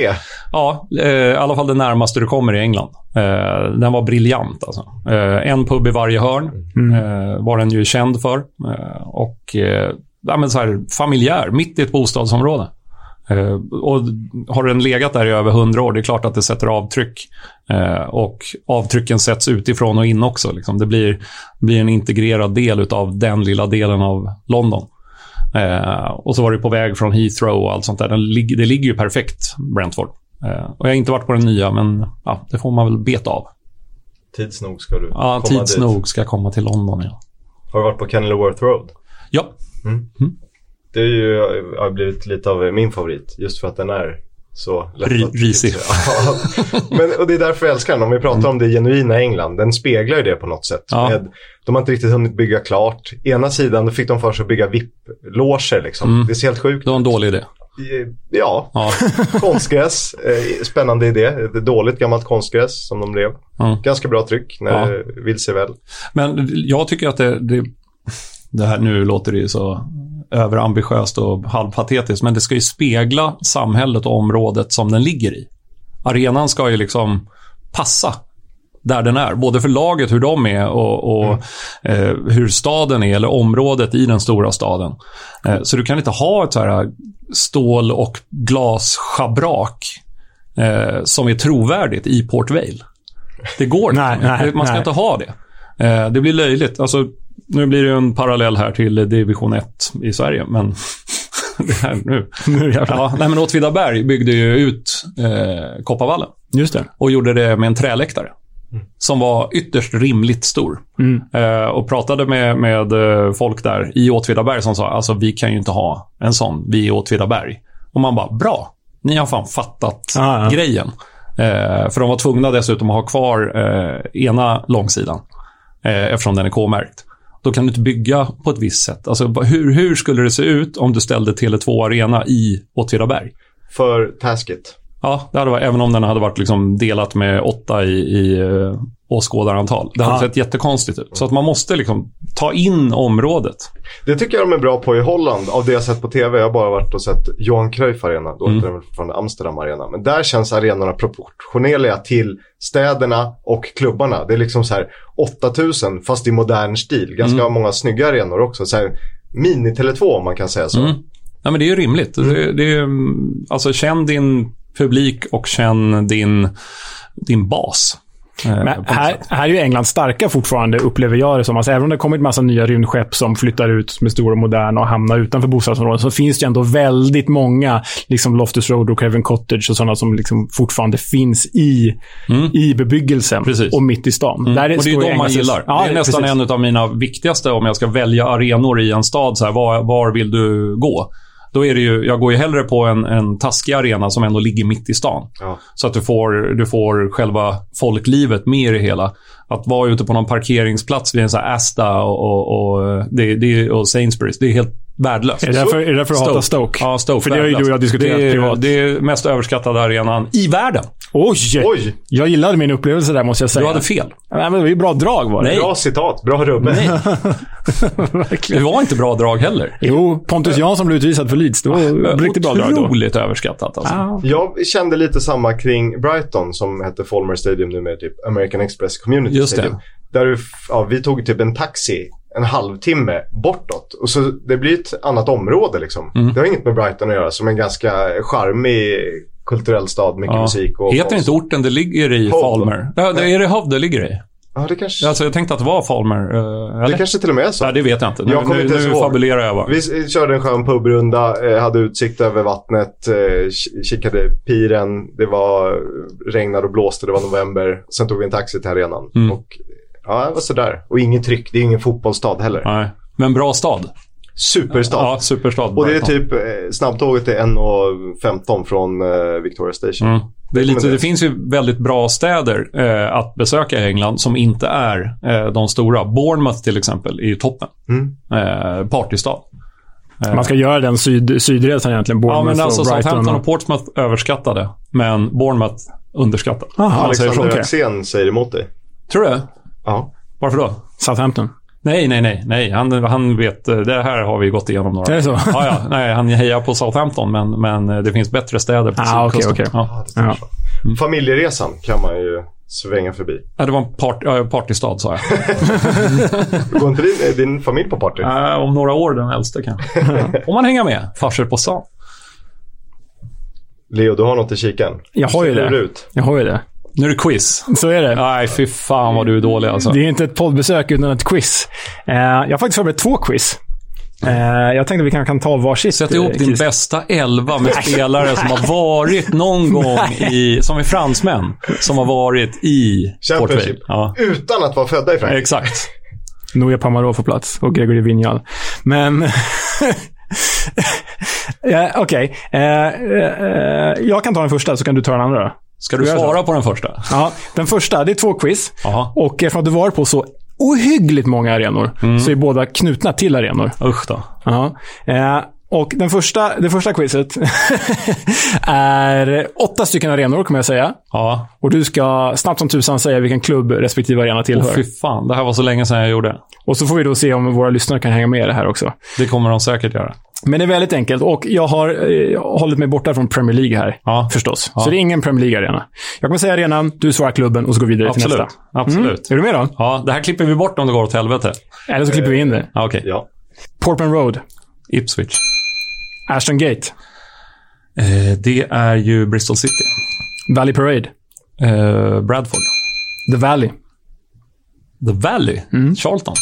Speaker 2: Ja, eh, i alla fall det närmaste du kommer i England. Eh, den var briljant alltså. Eh, en pub i varje hörn eh, var den ju känd för. Eh, och eh, ja, men så här, familjär, mitt i ett bostadsområde. Eh, och har den legat där i över hundra år, det är klart att det sätter avtryck. Eh, och avtrycken sätts utifrån och in också. Liksom. Det blir, blir en integrerad del av den lilla delen av London. Eh, och så var det på väg från Heathrow och allt sånt där. Den lig- det ligger ju perfekt, Brentford. Eh, och jag har inte varit på den nya, men ja, det får man väl beta av.
Speaker 1: Tids nog ska du komma
Speaker 2: Ja, tids
Speaker 1: dit.
Speaker 2: nog ska jag komma till London. Ja.
Speaker 1: Har du varit på Kenilworth Road?
Speaker 2: ja.
Speaker 1: Det är ju, har blivit lite av min favorit, just för att den är så lätt
Speaker 2: Ri-
Speaker 1: att-
Speaker 2: risig.
Speaker 1: Ja. Men, och det är därför jag älskar den. Om vi pratar om det genuina England, den speglar ju det på något sätt.
Speaker 2: Ja.
Speaker 1: Med, de har inte riktigt hunnit bygga klart. Ena sidan då fick de för sig att bygga VIP-loger. Liksom.
Speaker 2: Mm.
Speaker 1: Det ser helt sjukt
Speaker 2: Det var en dålig idé.
Speaker 1: Ja,
Speaker 2: Ja.
Speaker 1: konstgräs. Eh, spännande idé. Ett dåligt gammalt konstgräs som de drev.
Speaker 2: Mm.
Speaker 1: Ganska bra tryck när det vill sig väl.
Speaker 2: Men jag tycker att det, det, det här nu låter det ju så överambitiöst och halvpatetiskt, men det ska ju spegla samhället och området som den ligger i. Arenan ska ju liksom passa där den är, både för laget, hur de är och, och
Speaker 3: Mm.
Speaker 2: eh, hur staden är, eller området i den stora staden. Eh, så du kan inte ha ett så här stål och glasschabrak eh, som är trovärdigt i Port Vale. Det går inte.
Speaker 3: Nej, nej,
Speaker 2: Man ska
Speaker 3: nej.
Speaker 2: inte ha det. Eh, det blir löjligt. Alltså, nu blir det ju en parallell här till division 1 i Sverige, men det här nu.
Speaker 3: Nu jävlar.
Speaker 2: Ja, nej, men Åtvidaberg byggde ju ut eh, Kopparvallen
Speaker 3: Just det.
Speaker 2: och gjorde det med en träläktare.
Speaker 3: Mm.
Speaker 2: Som var ytterst rimligt stor. Eh, och pratade med, med eh, folk där i Åtvidaberg som sa alltså vi kan ju inte ha en sån, vi är i Åtvidaberg. Och man bara, bra, ni har fan fattat
Speaker 3: Ah, ja.
Speaker 2: grejen. Eh, för de var tvungna dessutom att ha kvar eh, ena långsidan. Eh, eftersom den är K-märkt. Då kan du inte bygga på ett visst sätt. Alltså, va- hur, hur skulle det se ut om du ställde Tele2 Arena i Åtvidaberg?
Speaker 1: För tasket.
Speaker 2: Ja, det hade varit, även om den hade varit liksom delat med åtta i, i eh, åskådarantal. Det hade
Speaker 3: Ja.
Speaker 2: sett jättekonstigt ut. Så att man måste liksom ta in området.
Speaker 1: Det tycker jag de är bra på i Holland. Av det jag sett på tv. Jag har bara varit och sett Johan Cruyff Arena. Då heter den väl fortfarande Amsterdam Arena. Men där känns arenorna proportionerliga till städerna och klubbarna. Det är liksom så här 8000 fast i modern stil. Ganska många snygga arenor också. Så här, Mini-Tele2 om man kan säga så.
Speaker 2: Nej, men det är ju rimligt. Det, det är, mm, alltså, känn din publik och känn din, din bas. eh, på
Speaker 3: Men
Speaker 2: något
Speaker 3: här,
Speaker 2: sätt.
Speaker 3: här är ju England starka fortfarande, upplever jag det som. Alltså, även om det har kommit massa nya rymdskepp som flyttar ut med stora och moderna och hamnar utanför bostadsområden, så finns det ändå väldigt många, liksom Loftus Road och Craven Cottage och sådana som liksom fortfarande finns i, i bebyggelsen
Speaker 2: Mm. Precis. Mm.
Speaker 3: och mitt i stan. Där
Speaker 2: och det
Speaker 3: står
Speaker 2: är de
Speaker 3: ju
Speaker 2: man
Speaker 3: England-
Speaker 2: gillar.
Speaker 3: Ja,
Speaker 2: det är nästan
Speaker 3: precis.
Speaker 2: en av mina viktigaste om jag ska välja arenor i en stad. Så här, var, var vill du gå? Då är det ju, jag går ju hellre på en, en taskig arena som ändå ligger mitt i stan.
Speaker 1: Ja.
Speaker 2: Så att du får, du får själva folklivet med i det hela. Att vara ute på någon parkeringsplats vid en sån här Asta och, och, och, det, det, och Sainsbury's, det är helt värdelöst.
Speaker 3: Är det därför, är det därför du hatar Stoke?
Speaker 2: Ja, Stoke.
Speaker 3: För det har ju du och jag
Speaker 2: värdelöst.
Speaker 3: diskuterat
Speaker 2: det är,
Speaker 3: privat.
Speaker 2: Det är mest överskattade arenan i världen.
Speaker 3: Oj!
Speaker 1: Oj,
Speaker 3: Jag gillade min upplevelse där, måste jag säga.
Speaker 2: Du hade fel.
Speaker 3: Nej, men det var ju bra drag var det.
Speaker 2: Nej.
Speaker 1: bra citat. Bra rubbe.
Speaker 2: Det var inte bra drag heller.
Speaker 3: Jo, Pontus Jansson blev utvisad för Leeds. Det var riktigt bra drag då.
Speaker 2: Otroligt överskattat alltså.
Speaker 3: Ja.
Speaker 1: Jag kände lite samma kring Brighton som hette Folmer Stadium nu med typ American Express Community
Speaker 2: Just det.
Speaker 1: Stadium. Där du, ja, vi tog typ en taxi en halvtimme bortåt. Och så det blir ett annat område liksom.
Speaker 2: Mm.
Speaker 1: Det har inget med Brighton att göra som en ganska charmig kulturell stad. Mycket
Speaker 2: Ja.
Speaker 1: musik och
Speaker 2: Heter inte orten det ligger i
Speaker 1: Hov.
Speaker 2: Falmer? Ja, det, är det Hov det ligger i?
Speaker 1: Ja, det kanske,
Speaker 2: Alltså, jag tänkte att det var Falmer. eh,
Speaker 1: det
Speaker 2: Eller?
Speaker 1: kanske till och med är så.
Speaker 2: Nej, det vet jag inte. Nu,
Speaker 1: Jag kommer
Speaker 2: nu,
Speaker 1: inte ens
Speaker 2: nu
Speaker 1: ihåg.
Speaker 2: fabulerar jag bara.
Speaker 1: Vi s- körde en skön pubrunda, eh, hade utsikt över vattnet, eh, ki- kikade piren, det var eh, regnade och blåste, det var november. Sen tog vi en taxi till arenan. Och, ja, det var sådär. Och inget tryck, det är ingen fotbollsstad heller.
Speaker 2: Nej. Men bra stad.
Speaker 1: Superstad.
Speaker 2: Ja, superstad.
Speaker 1: Och det är
Speaker 2: Brighton.
Speaker 1: typ, eh, snabbtåget är 1.15 från eh, Victoria Station.
Speaker 2: Mm. Det, är lite, det
Speaker 1: Rekommenderas.
Speaker 2: finns ju väldigt bra städer eh, att besöka i England som inte är eh, de stora. Bournemouth till exempel är ju toppen.
Speaker 1: Mm.
Speaker 2: Eh, partystad.
Speaker 3: Man ska göra den syd, sydresan egentligen.
Speaker 2: Ja,
Speaker 3: Bournemouth
Speaker 2: men alltså
Speaker 3: och Brighton.
Speaker 2: Southampton
Speaker 3: Och...
Speaker 2: och Portsmouth överskattade, men Bournemouth underskattat.
Speaker 3: Aha,
Speaker 2: Om man säger så.
Speaker 1: Alexander Axén säger emot dig.
Speaker 2: Tror du?
Speaker 1: Ja.
Speaker 2: Varför då?
Speaker 3: Southampton.
Speaker 2: Nej, nej, nej. nej. Han, han vet, eh, det här har vi gått igenom några
Speaker 3: Det är så?
Speaker 2: Ja, ja. Nej, han hejar på Southampton, men, men eh, det finns bättre städer på
Speaker 3: Ah,
Speaker 2: sydkusten.
Speaker 3: okej, okej.
Speaker 1: det
Speaker 2: Ja.
Speaker 1: är så. Familjeresan kan man ju svänga förbi.
Speaker 2: Ja, det var en part, ja, partystad, sa jag.
Speaker 1: Går inte din, eh, din familj på party?
Speaker 2: Eh, om några år den äldste kanske. Om man hänger med. Farsor på stan.
Speaker 1: Leo, du har något i kikan.
Speaker 3: Jag har ju
Speaker 1: Hur ser
Speaker 3: det.
Speaker 1: ut?
Speaker 3: Jag har ju det.
Speaker 2: Nu är det quiz.
Speaker 3: Så är det.
Speaker 2: Nej, fy fan vad du är dålig alltså.
Speaker 3: Det är ju inte ett poddbesök utan ett quiz. Eh, jag har faktiskt förberett två quiz. Eh, jag tänkte vi kanske kan ta varsitt.
Speaker 2: Sätt ihop
Speaker 3: eh,
Speaker 2: din
Speaker 3: quiz.
Speaker 2: bästa elva med spelare som har varit någon gång i, som är fransmän, som har varit i
Speaker 1: Championship.
Speaker 3: typ.
Speaker 2: Portvale. Ja,
Speaker 1: Utan att vara födda i Frankrike.
Speaker 2: exakt.
Speaker 3: Noja Pamarov får plats och Gregory Vinjal. Men... ja, Okej. Eh, eh, jag kan ta den första så kan du ta den andra. då.
Speaker 2: Ska du
Speaker 3: Ska jag
Speaker 2: svara på den första?
Speaker 3: Ja, den första, det är två quiz.
Speaker 2: Jaha.
Speaker 3: Och eftersom att du var på så ohyggligt många arenor
Speaker 2: Mm.
Speaker 3: så är båda knutna till arenor.
Speaker 2: Usch då.
Speaker 3: Ja. Eh, och den första, det första quizet är åtta stycken arenor, kommer jag säga.
Speaker 2: Ja,
Speaker 3: Och du ska snabbt som tusan säga vilken klubb respektive arena tillhör.
Speaker 2: Åh, fy fan. Det här var så länge sedan jag gjorde.
Speaker 3: och så får vi då se om våra lyssnare kan hänga med i det här också.
Speaker 2: Det kommer de säkert göra.
Speaker 3: Men det är väldigt enkelt och jag har eh, hållit mig borta från Premier League här.
Speaker 2: Ja,
Speaker 3: Förstås.
Speaker 2: Ja.
Speaker 3: Så det är ingen Premier League-arena. Jag kommer säga arenan, du svarar klubben och så går vi vidare till
Speaker 2: absolut.
Speaker 3: nästa. Mm.
Speaker 2: Absolut.
Speaker 3: Är du med då?
Speaker 2: Ja, det här klipper vi bort om det går åt helvete.
Speaker 3: Eller så klipper vi in det.
Speaker 2: Ja, Okej.
Speaker 1: Ja.
Speaker 3: Portman Road,
Speaker 2: Ipswich.
Speaker 3: Ashton Gate,
Speaker 2: Eh, det är ju Bristol City.
Speaker 3: Valley Parade,
Speaker 2: Eh, Bradford.
Speaker 3: The Valley,
Speaker 2: The Valley.
Speaker 3: Mm.
Speaker 2: Charlton.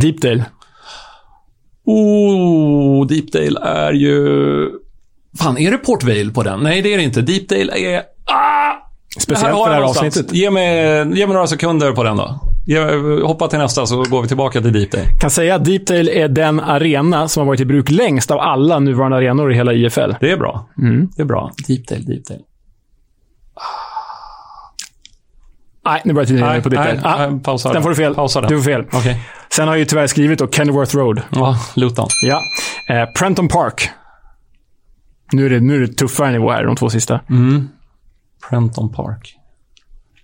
Speaker 3: Deepdale,
Speaker 2: Oh, Deepdale är ju... Fan, är det Port Vale på den? Nej, det är det inte. Deepdale är... Ah!
Speaker 3: Speciellt
Speaker 2: har
Speaker 3: för det
Speaker 2: jag
Speaker 3: här
Speaker 2: någonstans.
Speaker 3: avsnittet.
Speaker 2: Ge mig, ge mig några sekunder på den då. Ge, hoppa till nästa så går vi tillbaka till Deepdale.
Speaker 3: Kan säga att Deepdale är den arena som har varit i bruk längst av alla nuvarande arenor i hela IFL.
Speaker 2: Det är bra.
Speaker 3: Mm.
Speaker 2: Det är bra. Deepdale, Deepdale.
Speaker 3: Nej, nu börjar tiden rinna ut på Deepdale. Ah,
Speaker 2: nej, pausa
Speaker 3: den får du fel.
Speaker 2: Pausa den.
Speaker 3: Du får fel.
Speaker 2: Okej.
Speaker 3: Sen har jag ju tyvärr skrivit då Kenilworth Road.
Speaker 2: Ja, Luton.
Speaker 3: Ja. Eh, Prenton Park. Nu är, det, nu är det tuffare nivå här, de två sista.
Speaker 2: Mm. Prenton Park.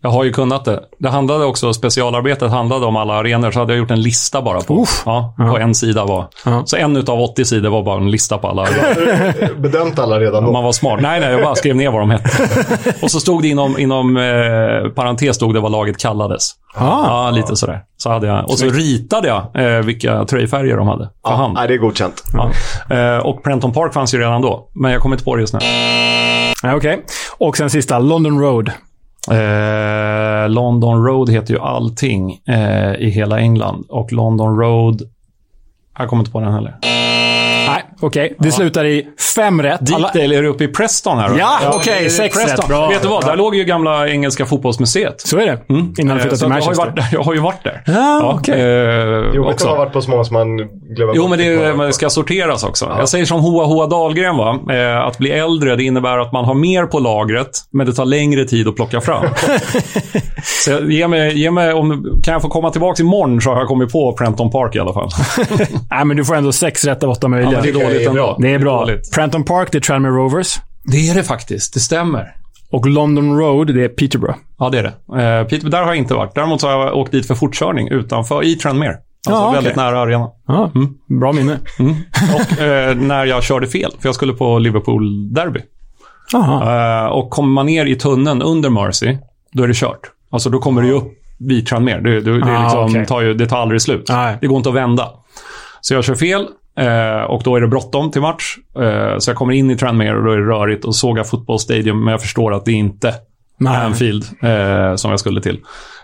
Speaker 2: Jag har ju kunnat det. Det handlade också, specialarbetet handlade om alla arenor, så hade jag gjort en lista bara på.
Speaker 3: Uff.
Speaker 2: Ja, på en sida var. Så en utav 80 sidor var bara en lista på alla arenor.
Speaker 1: Bedömt alla redan då.
Speaker 2: Man var smart. Nej, nej, jag bara skrev ner vad de hette. Och så stod det inom, inom eh, parentes stod det vad laget kallades.
Speaker 3: Ah.
Speaker 2: Ja, lite sådär. Så hade jag. Och så ritade jag eh, vilka tröjfärger de hade. För hand.
Speaker 1: Nej, det är godkänt.
Speaker 2: Ja. Eh, och Prenton Park fanns ju redan då, men jag kommer inte på det just nu.
Speaker 3: Ja, Okej. Och sen sista, London Road.
Speaker 2: Eh, London Road heter ju allting eh, i hela England. Och London Road... Jag kommer inte på den heller.
Speaker 3: Nej, okej. Det slutar i fem rätt. Alla-
Speaker 2: Deepdale, är du uppe i Preston här? då?
Speaker 3: Ja, okej,
Speaker 2: det är
Speaker 3: sex
Speaker 2: Preston.
Speaker 3: rätt. Bra,
Speaker 2: Vet du vad?
Speaker 3: bra.
Speaker 2: Där låg ju gamla engelska fotbollsmuseet.
Speaker 3: Så är det. Innan vi
Speaker 2: Eh,
Speaker 3: flyttade
Speaker 2: så att jag,
Speaker 3: till
Speaker 2: har ju
Speaker 3: Manchester.
Speaker 2: varit där. jag har ju varit där.
Speaker 3: Ja, okej.
Speaker 2: eh,
Speaker 1: Jobbigt att
Speaker 2: också.
Speaker 1: man har varit på så många som man glömmer
Speaker 2: Jo,
Speaker 1: bort
Speaker 2: men det,
Speaker 1: att man har
Speaker 2: är-
Speaker 1: varit
Speaker 2: men
Speaker 1: på.
Speaker 2: det ska sorteras också. Jag säger som Hoa Hoa Dahlgren, va? Eh, att bli äldre det innebär att man har mer på lagret, men det tar längre tid att plocka fram. så jag- ge mig, ge mig, om, kan jag få komma tillbaka imorgon så har jag kommit på Prenton Park i alla fall.
Speaker 3: Nej, men du får ändå sex rätt av åtta möjliga.
Speaker 2: men det är dåligt
Speaker 1: det är
Speaker 2: ändå.
Speaker 1: bra.
Speaker 3: Det är bra.
Speaker 2: dåligt.
Speaker 3: Prenton Park, det är Tranmere Rovers.
Speaker 2: Det är det faktiskt. Det stämmer.
Speaker 3: Och London Road, det är Peterborough.
Speaker 2: Ja, det är det. Eh, Peter, där har jag inte varit. Däremot så har jag åkt dit för fortkörning utanför, i Tranmere. Alltså
Speaker 3: Ja, okej.
Speaker 2: väldigt nära arenan.
Speaker 3: Ja, Ah,
Speaker 2: Mm.
Speaker 3: Bra minne.
Speaker 2: Och eh, när jag körde fel, för jag skulle på Liverpool-derby.
Speaker 3: Aha.
Speaker 2: Eh, och kommer man ner i tunneln under Mercy, då är det kört. Alltså då kommer det ju upp vid Tranmere. Det, det, det, är
Speaker 3: Ah,
Speaker 2: liksom,
Speaker 3: okej.
Speaker 2: tar ju, det tar aldrig slut.
Speaker 3: Nej.
Speaker 2: Det går inte att vända. Så jag kör fel eh, och då är det bråttom till match. Eh, så jag kommer in i Tranmere och då är det rörigt och sågar Football Stadium, men jag förstår att det inte
Speaker 3: Nej.
Speaker 2: är Anfield eh, som jag skulle till.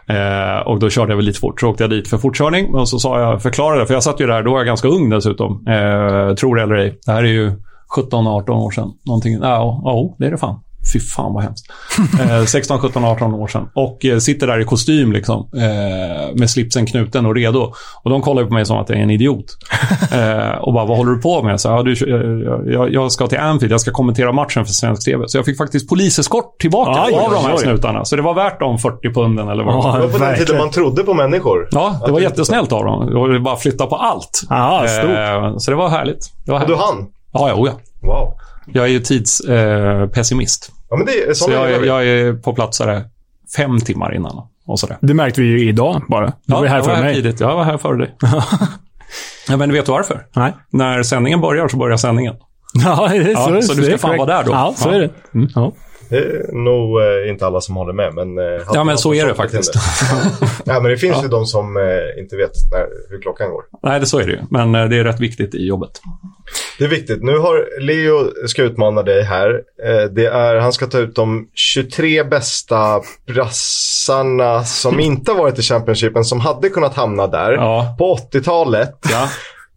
Speaker 2: Eh, och då körde jag väl lite fort. Så åkte jag dit för fortkörning. Och så sa jag, förklarade, för jag satt ju där, då var jag ganska ung dessutom. Eh, tror det eller ej. Det här är ju 17-18 år sedan. Någonting, ja, ja, det är det fan. Fy fan vad hemskt. Eh, 16, 17, 18 år sedan. Och eh, sitter där i kostym liksom. Eh, med slipsen knuten och redo. Och de kollar ju på mig som att jag är en idiot. Eh, och bara, vad håller du på med? Så, ja, du, eh, jag, jag ska till Anfield, jag ska kommentera matchen för svensk TV. Så jag fick faktiskt poliseskort tillbaka
Speaker 3: Aj,
Speaker 2: av de
Speaker 3: oj,
Speaker 2: här
Speaker 3: oj.
Speaker 2: snutarna. Så det var värt de 40 punden eller vad det var.
Speaker 1: Det var på den tiden man trodde på människor.
Speaker 2: Ja, det var jättesnällt av dem. Och det bara flytta på allt.
Speaker 3: Aha, stort.
Speaker 2: Eh, så det var härligt. Det var
Speaker 1: Du
Speaker 2: härligt.
Speaker 1: hann.
Speaker 2: Ja, ja, oh, ja.
Speaker 1: Wow.
Speaker 2: Jag är ju tidspessimist. Eh, pessimist.
Speaker 1: Ja, men det är
Speaker 2: så
Speaker 1: sådana
Speaker 2: jag,
Speaker 1: grejer.
Speaker 2: jag är på plats där fem timmar innan. och sådär.
Speaker 3: Det märkte vi ju idag bara. Du var ju här
Speaker 2: jag
Speaker 3: för
Speaker 2: var här
Speaker 3: mig.
Speaker 2: tidigt. Jag var här före dig. ja, men vet du varför?
Speaker 3: Nej.
Speaker 2: När sändningen börjar så börjar sändningen.
Speaker 3: Ja, det är
Speaker 2: Ja,
Speaker 3: så,
Speaker 2: så du
Speaker 3: det
Speaker 2: ska
Speaker 3: är
Speaker 2: fan
Speaker 3: korrekt.
Speaker 2: vara där då.
Speaker 3: Ja, så
Speaker 2: Ja. Mm.
Speaker 3: är det. Ja.
Speaker 1: Det är nog eh, inte alla som håller med, men... eh, hade
Speaker 2: Ja, men
Speaker 1: man
Speaker 2: så är det
Speaker 1: förstått
Speaker 2: faktiskt.
Speaker 1: Ja, men det finns ju de som eh, inte vet när, hur klockan går.
Speaker 2: Nej, det så är det ju. Men eh, det är rätt viktigt i jobbet.
Speaker 1: Det är viktigt. Nu har Leo ska utmana dig här. Eh, det är, han ska ta ut de 23 bästa brassarna som inte har varit i Championship, men som hade kunnat hamna där.
Speaker 2: Ja.
Speaker 1: På 80-talet.
Speaker 2: Ja.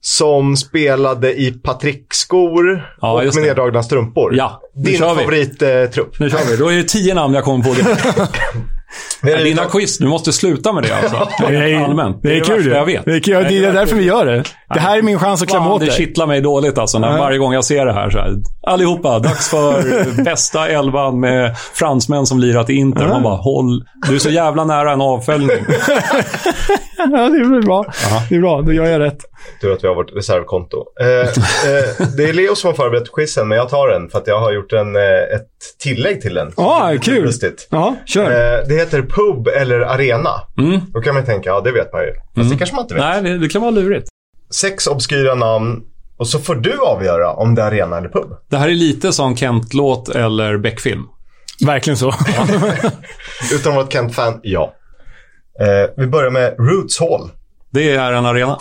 Speaker 1: Som spelade i Patrick-skor
Speaker 2: Ja,
Speaker 1: och med
Speaker 2: just det.
Speaker 1: neddragna strumpor.
Speaker 2: Ja, nu
Speaker 1: Din
Speaker 2: kör vi.
Speaker 1: favorittrupp.
Speaker 2: Nu kör vi. Då är det tio namn jag kommer på direkt. Dina quiz, du måste sluta med det alltså.
Speaker 3: Det är,
Speaker 2: Allmänt.
Speaker 3: Det är kul
Speaker 2: värsta
Speaker 3: ju.
Speaker 2: jag vet.
Speaker 3: Det är, kul. Ja, det är därför vi gör det. Det här är min chans att klämma
Speaker 2: Fan,
Speaker 3: åt
Speaker 2: det
Speaker 3: dig.
Speaker 2: kittlar mig dåligt alltså när varje gång jag ser det här, så här. Allihopa, dags för bästa elvan med fransmän som lirat i Inter. Man bara, håll. Du är så jävla nära en avföljning.
Speaker 3: Ja, det är väl bra. Det är bra. Då gör jag rätt.
Speaker 1: Tur att vi har vårt reservkonto. Eh, eh, det är Leo som har förberett quizen, men jag tar den för att jag har gjort en, eh, ett tillägg till den.
Speaker 3: Ja,
Speaker 1: Det är
Speaker 3: kul.
Speaker 1: Lustigt.
Speaker 3: Ja, kör.
Speaker 1: Eh, det heter pub eller arena. Då kan man tänka, ja det vet man ju. Fast det kanske man inte vet.
Speaker 2: Mm. Nej, det, det kan vara lurigt.
Speaker 1: Sex obskyra namn och så får du avgöra om det är arena eller pub.
Speaker 2: Det här är lite som Kent-låt eller Beck-film.
Speaker 3: Verkligen så.
Speaker 1: Utan att vara ett Kent-fan, ja. Eh, vi börjar med Roots Hall.
Speaker 2: Det är en arena.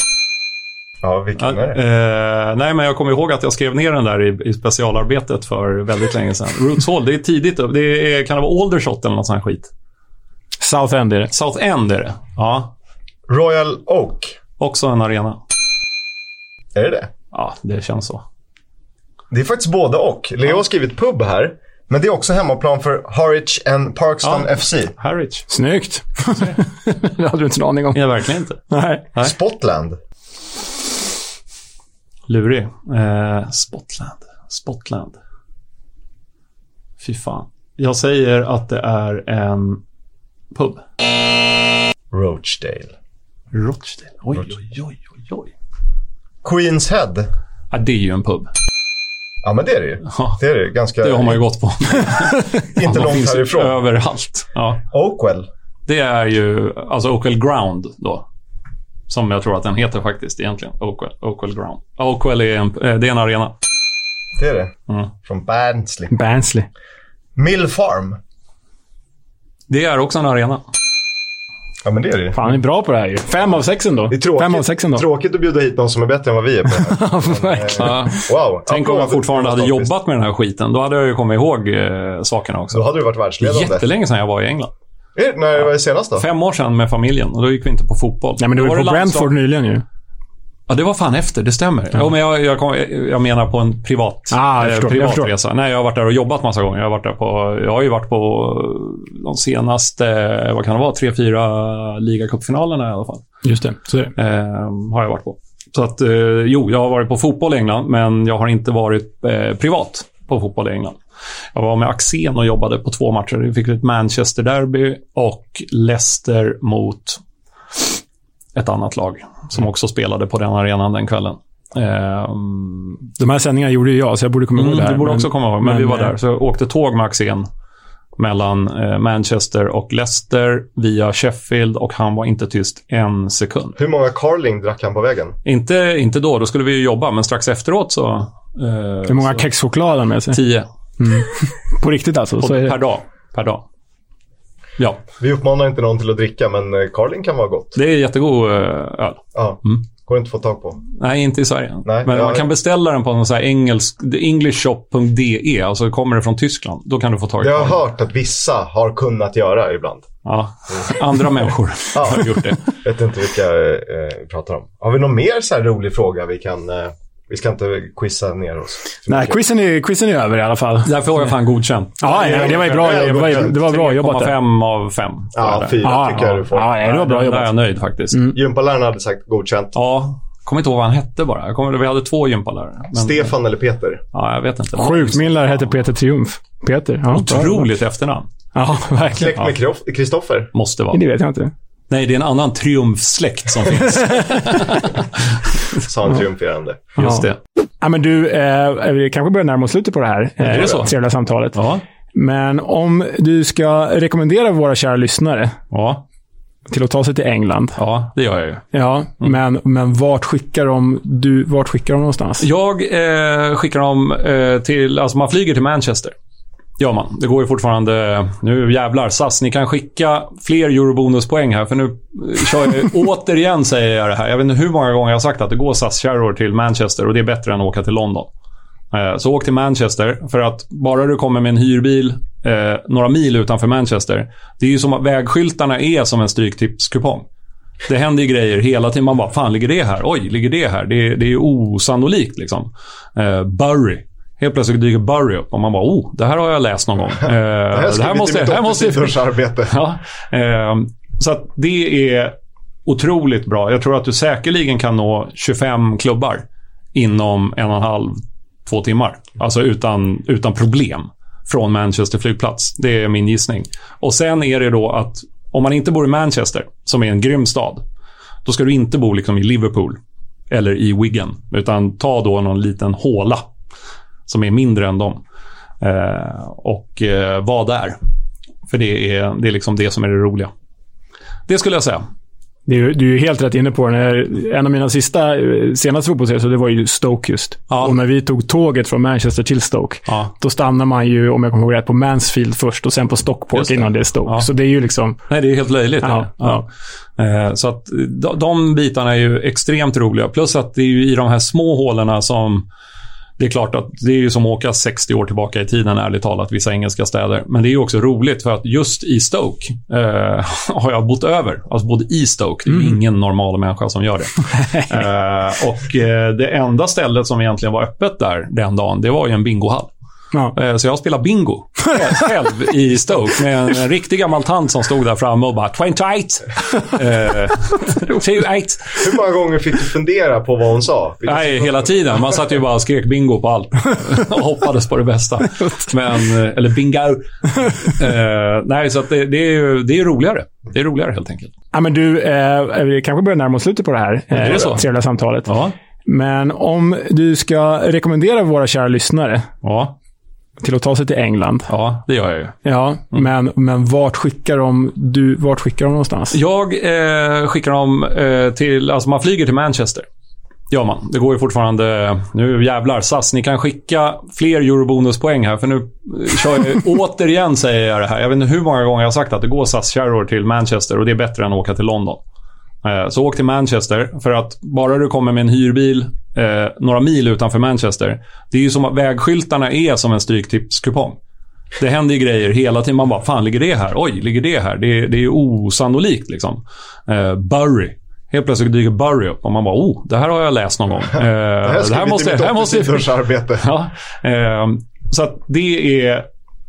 Speaker 1: Ja, vilken är det?
Speaker 2: Eh, nej, men jag kommer ihåg att jag skrev ner den där i, i specialarbetet för väldigt länge sedan. Roots Hall, det är tidigt. upp. Det är, kan det vara Aldershot eller något sånt här skit?
Speaker 3: South End är det.
Speaker 2: South End är det. Ja,
Speaker 1: Royal Oak.
Speaker 2: också en arena.
Speaker 1: Är det det?
Speaker 2: Ja, det känns så.
Speaker 1: Det är faktiskt både och. Leo har skrivit pub här. Men det är också hemmaplan för Harwich and Parkston
Speaker 2: Ja.
Speaker 1: FC.
Speaker 2: Harwich?
Speaker 3: Snyggt. det hade du inte en aning om.
Speaker 2: Ja, verkligen inte.
Speaker 3: Nej.
Speaker 2: Nej.
Speaker 1: Spotland.
Speaker 2: Lurig. Eh, Spotland. Spotland. Fy fan. Jag säger att det är en pub.
Speaker 1: Rochdale.
Speaker 2: Rochdale. Oj, oj, oj, oj, oj.
Speaker 1: Queens Head.
Speaker 2: Ja, det är ju en pub.
Speaker 1: Ja, men det är det ju.
Speaker 2: Ja.
Speaker 1: Det är det ju. Ganska...
Speaker 2: Det har man ju gått på.
Speaker 1: Inte
Speaker 2: De
Speaker 1: långt
Speaker 2: finns ju
Speaker 1: härifrån.
Speaker 2: Överallt. Ja.
Speaker 1: Oakwell.
Speaker 2: Det är ju alltså Oakwell Ground då. Som jag tror att den heter faktiskt egentligen. Oakwell, Oakwell Ground. Oakwell är en, eh, det är en arena.
Speaker 1: Det är det.
Speaker 2: Mm.
Speaker 1: Från Barnsley.
Speaker 3: Bansley.
Speaker 1: Mill Farm.
Speaker 2: Det är också en arena.
Speaker 1: Ja, men det är det ju.
Speaker 3: Fan, han är bra på det här ju. Fem av sex ändå.
Speaker 1: Det är tråkigt,
Speaker 3: Fem av sex ändå.
Speaker 1: tråkigt att bjuda hit någon som är bättre än vad vi är på det här.
Speaker 3: Verkligen.
Speaker 2: Ja.
Speaker 1: Wow.
Speaker 2: Tänk om jag
Speaker 1: Applåder.
Speaker 2: fortfarande hade jobbat med den här skiten. Då hade jag ju kommit ihåg eh, sakerna
Speaker 1: Då
Speaker 2: också.
Speaker 1: hade du varit världsledande.
Speaker 2: Jättelänge sedan jag var i England.
Speaker 1: Eh, När var det senast då?
Speaker 2: Fem år sedan med familjen och då gick vi inte på fotboll.
Speaker 3: Nej, men du
Speaker 2: Då
Speaker 3: var ju på
Speaker 2: det
Speaker 3: Brentford
Speaker 2: landslag.
Speaker 3: nyligen ju.
Speaker 2: Ja, det var fan efter. Det stämmer. Ja. men jag, jag, kom, jag menar på en privat,
Speaker 3: Ah, jag förstår, jag förstår.
Speaker 2: resa. Nej, jag har varit där och jobbat massa gånger. Jag har, varit där på, jag har ju varit på de senaste, eh, vad kan det vara, tre, fyra ligacupfinalerna i alla fall.
Speaker 3: Just det. Så är det.
Speaker 2: Eh, har jag varit på. Så att, eh, jo, jag har varit på fotboll i England, men jag har inte varit eh, privat på fotboll i England. Jag var med Axén och jobbade på två matcher. Vi fick ett Manchester-derby och Leicester mot ett annat lag som också spelade på den arenan den kvällen. Eh,
Speaker 3: De här sändningarna gjorde ju jag, så jag borde komma ihåg det här.
Speaker 2: Mm, du borde
Speaker 3: men-
Speaker 2: också komma ihåg, men, vi
Speaker 3: men,
Speaker 2: var
Speaker 3: eh,
Speaker 2: där. Så jag åkte tåg med Axén mellan eh, Manchester och Leicester via Sheffield och han var inte tyst en sekund.
Speaker 1: Hur många Carling drack han på vägen?
Speaker 2: Inte, inte då, då skulle vi ju jobba, men strax efteråt så... Eh,
Speaker 3: Hur många kexchoklad har med sig?
Speaker 2: Tio
Speaker 3: På riktigt alltså.
Speaker 2: på,
Speaker 3: så är det.
Speaker 2: per dag. Per dag. Ja,
Speaker 1: Vi uppmanar inte någon till att dricka, men eh, Carling kan vara gott.
Speaker 2: det är jättegod eh, öl.
Speaker 1: Ja.
Speaker 2: Mm.
Speaker 1: Går inte att få tag på.
Speaker 2: Nej, inte i Sverige.
Speaker 1: Nej,
Speaker 2: men
Speaker 1: jag-
Speaker 2: man kan beställa den på någon så här engelsk... Englishshop.de, alltså kommer det från Tyskland. Då kan du få tag i
Speaker 1: Jag har
Speaker 2: den.
Speaker 1: hört att vissa har kunnat göra ibland.
Speaker 2: Ja. Andra människor har gjort det.
Speaker 1: Vet inte vilka eh, eh, vi pratar om. Har vi någon mer så här rolig fråga vi kan... Eh, vi ska inte quizza ner oss. för
Speaker 3: Nej,
Speaker 1: mycket.
Speaker 3: quizen är, quizen är över i alla fall.
Speaker 2: Därför har jag fan godkänt.
Speaker 3: Ja, ja, det var ju bra. Det var, ju- det var bra jobbat. där.
Speaker 2: 3,5 av 5.
Speaker 1: Ja, fyra
Speaker 3: Ja,
Speaker 1: tycker jag
Speaker 3: ja,
Speaker 1: du får.
Speaker 3: ja, det var bra
Speaker 2: Där är
Speaker 3: jobbat. Mm.
Speaker 2: jag nöjd faktiskt.
Speaker 1: Gympaläraren hade sagt godkänt.
Speaker 2: Ja, kommer inte ihåg vad han hette bara. Jag kommer, vi hade två gympalärare. men-
Speaker 1: Stefan eller Peter?
Speaker 2: Ja, jag vet inte.
Speaker 3: Sjukt. Min lärare hette Peter Triumf. Peter. Ja, bra.
Speaker 2: Otroligt efternamn.
Speaker 3: Ja, verkligen.
Speaker 1: Släkt med Krof- Kristoffer?
Speaker 2: Måste vara.
Speaker 3: Det vet jag inte.
Speaker 2: Nej, det är en annan triumfsläkt som finns.
Speaker 1: Sa han triumferande.
Speaker 2: Just det.
Speaker 3: Ja, men du, eh, vi kanske börjar närma oss slutet på det här eh,
Speaker 2: Är det så?
Speaker 3: trevliga samtalet.
Speaker 2: Ja.
Speaker 3: Men om du ska rekommendera våra kära lyssnare
Speaker 2: ja.
Speaker 3: till att ta sig till England.
Speaker 2: Ja, det gör jag ju.
Speaker 3: Ja,
Speaker 2: Mm.
Speaker 3: men, men vart skickar de du, vart skickar de någonstans?
Speaker 2: Jag eh, skickar dem eh, till... Alltså man flyger till Manchester. Gör man. Det går ju fortfarande... eh, Nu jävlar, SAS, ni kan skicka fler eurobonuspoäng här. För nu eh, kör jag... återigen säger jag det här. Jag vet inte hur många gånger jag har sagt att det går SAS-kärror till Manchester och det är bättre än att åka till London. Eh, Så åk till Manchester, för att bara du kommer med en hyrbil eh, några mil utanför Manchester. Det är ju som att vägskyltarna är som en stryktipskupong. Det händer ju grejer hela tiden. Man bara, fan ligger det här? Oj, ligger det här? Det, är- det är ju osannolikt liksom. Eh, Bury. Helt plötsligt dyker Bury upp och man bara, oh, det här har jag läst någon gång. Eh, det här,
Speaker 1: skrivit i mitt
Speaker 2: det här måste jag
Speaker 1: 80-sidors arbete.
Speaker 2: Ja, ehm, så att det är otroligt bra. Jag tror att du säkerligen kan nå 25 klubbar inom en och en halv, två timmar. Alltså utan, utan problem från Manchester flygplats. Det är min gissning. Och sen är det då att om man inte bor i Manchester, som är en grym stad, då ska du inte bo liksom i Liverpool eller i Wigan. Utan ta då någon liten håla som är mindre än dem. Eh, och eh, var där. För det är, det är liksom det som är det roliga. Det skulle jag säga.
Speaker 3: Det är ju- Du är ju helt rätt inne på den. här. En av mina sista, eh, senaste fotbollsresor, det var ju Stoke just.
Speaker 2: Ja.
Speaker 3: Och när vi tog tåget från Manchester till Stoke,
Speaker 2: Ja.
Speaker 3: då stannar man ju, om jag kommer ihåg rätt, på Mansfield först och sen på Stockport
Speaker 2: Just det.
Speaker 3: innan det är Stoke.
Speaker 2: Ja.
Speaker 3: Så det är ju liksom...
Speaker 2: Nej, det är helt löjligt.
Speaker 3: Ja,
Speaker 2: Ja. Eh, Så att de, de bitarna är ju extremt roliga. Plus att det är ju i de här små hålen som... Det är klart att det är ju som att åka 60 år tillbaka i tiden, ärligt talat, vissa engelska städer. Men det är ju också roligt för att just i Stoke eh, har jag bott över. Alltså både i Stoke. Det är ju ingen normal människa som gör det. eh, och eh, det enda stället som egentligen var öppet där den dagen, det var ju en bingohall.
Speaker 3: Ja.
Speaker 2: Eh, Så jag spelade bingo själv i Stoke med en riktig gammal tant som stod där framme och bara 28. Eh, 28.
Speaker 1: Hur många gånger fick du fundera på vad hon sa? Vilken-
Speaker 2: Nej, hela tiden. Man satt ju bara och skrek bingo på allt och hoppades på det bästa. Men, eh, eller bingo. Eh, nej, så att det, det, är ju, det är ju roligare. Det är roligare helt enkelt.
Speaker 3: ja, men du, eh, vi kanske börjar närma oss slutet på det här eh,
Speaker 2: är det så?
Speaker 3: trevliga samtalet.
Speaker 2: Ja.
Speaker 3: Men om du ska rekommendera våra kära lyssnare
Speaker 2: Ja,
Speaker 3: till att ta sig till England.
Speaker 2: ja, det gör jag ju.
Speaker 3: Ja, men, men vart skickar de du, vart skickar de någonstans?
Speaker 2: Jag eh, skickar dem eh, till... Alltså man flyger till Manchester. Gör man. Det går ju fortfarande... eh, Nu jävlar, SAS, ni kan skicka fler eurobonuspoäng här. För nu eh, kör jag... återigen säger jag det här. Jag vet inte hur många gånger jag har sagt att det går SAS-kärror till Manchester och det är bättre än att åka till London. Eh, Så åk till Manchester, för att bara du kommer med en hyrbil eh, några mil utanför Manchester. Det är ju som att vägskyltarna är som en stryktipskupong. Det händer ju grejer hela tiden. Man bara, fan ligger det här? Oj, ligger det här? Det, är- det är ju osannolikt liksom. Eh, Bury. Helt plötsligt dyker Bury upp och man bara, oh, det här har jag läst någon gång. Eh,
Speaker 1: Det här, skrivit i mitt
Speaker 2: det här måste jag-
Speaker 1: 80-sidors arbete.
Speaker 2: Ja, ehm, så att det är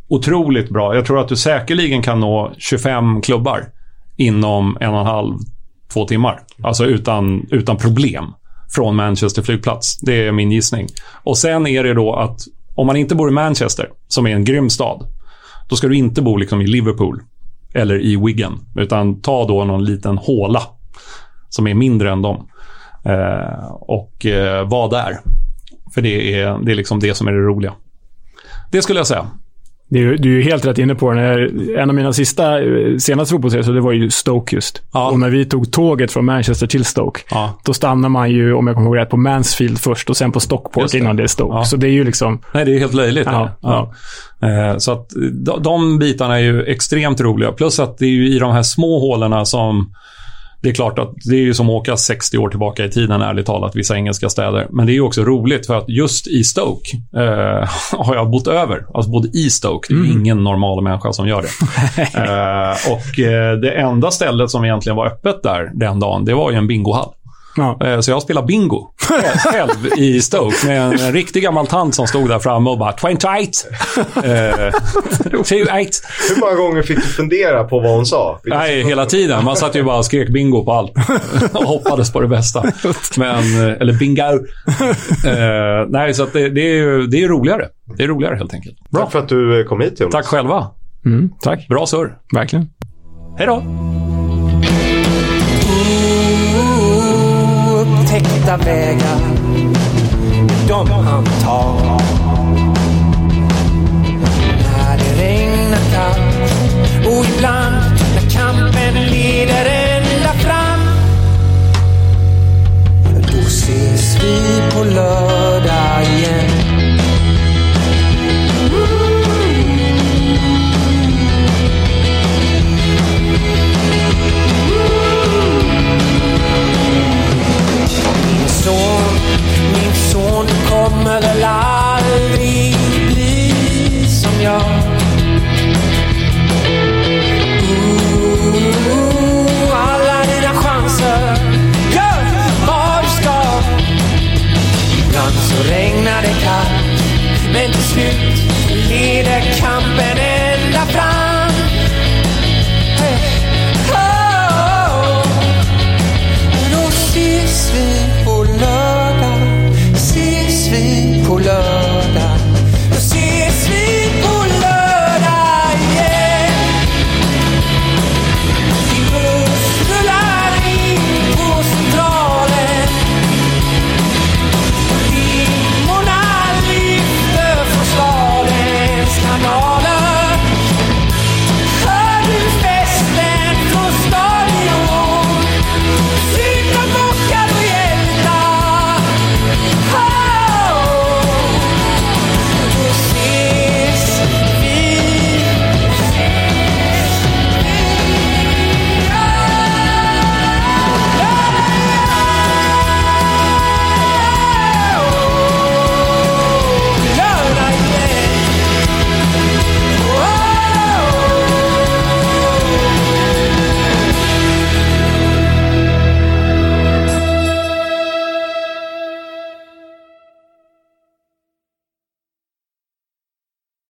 Speaker 2: otroligt bra. Jag tror att du säkerligen kan nå 25 klubbar inom en och en halv, två timmar. Alltså utan, utan problem från Manchester flygplats. Det är min gissning. Och sen är det då att om man inte bor i Manchester, som är en grym stad, då ska du inte bo liksom i Liverpool eller i Wigan. Utan ta då någon liten håla som är mindre än dem. Eh, och eh, var där. För det är, det är liksom det som är det roliga. Det skulle jag säga.
Speaker 3: Det är ju- Du är ju helt rätt inne på den. här. En av mina sista, eh, senaste fotbollsresor, det var ju Stoke just.
Speaker 2: Ja.
Speaker 3: Och när vi tog tåget från Manchester till Stoke,
Speaker 2: Ja.
Speaker 3: då stannar man ju, om jag kommer ihåg rätt, på Mansfield först och sen på Stockport
Speaker 2: Just det.
Speaker 3: innan det är Stoke.
Speaker 2: Ja.
Speaker 3: Så det är ju liksom...
Speaker 2: Nej, det är helt löjligt.
Speaker 3: Ja,
Speaker 2: Ja. Eh, Så att de, de bitarna är ju extremt roliga. Plus att det är ju i de här små hålen som... Det är klart att det är ju som att åka 60 år tillbaka i tiden, ärligt talat, vissa engelska städer. Men det är ju också roligt för att just i Stoke eh, har jag bott över. Alltså både i Stoke. Det är ju ingen normal människa som gör det. eh, och eh, det enda stället som egentligen var öppet där den dagen, det var ju en bingohall.
Speaker 3: Ja.
Speaker 2: Eh, Så jag spelade bingo själv i Stoke med en riktig gammal tant som stod där framme och bara 28. Eh, 28.
Speaker 1: Hur många gånger fick du fundera på vad hon sa? Vilken-
Speaker 2: Nej, hela tiden. Man satt ju bara och skrek bingo på allt och hoppades på det bästa. Men, eh, eller bingo. Eh, Nej, så att det, det, är ju, det är roligare. Det är roligare helt enkelt.
Speaker 1: Tack för att du eh, kom hit Jonas.
Speaker 2: Tack själva.
Speaker 3: Mm, tack.
Speaker 2: Bra surr.
Speaker 3: Verkligen.
Speaker 2: Hej då!
Speaker 4: upptäckta vägar de han tar. När det regnar kallt och ibland när kampen leder en Men till slut oh,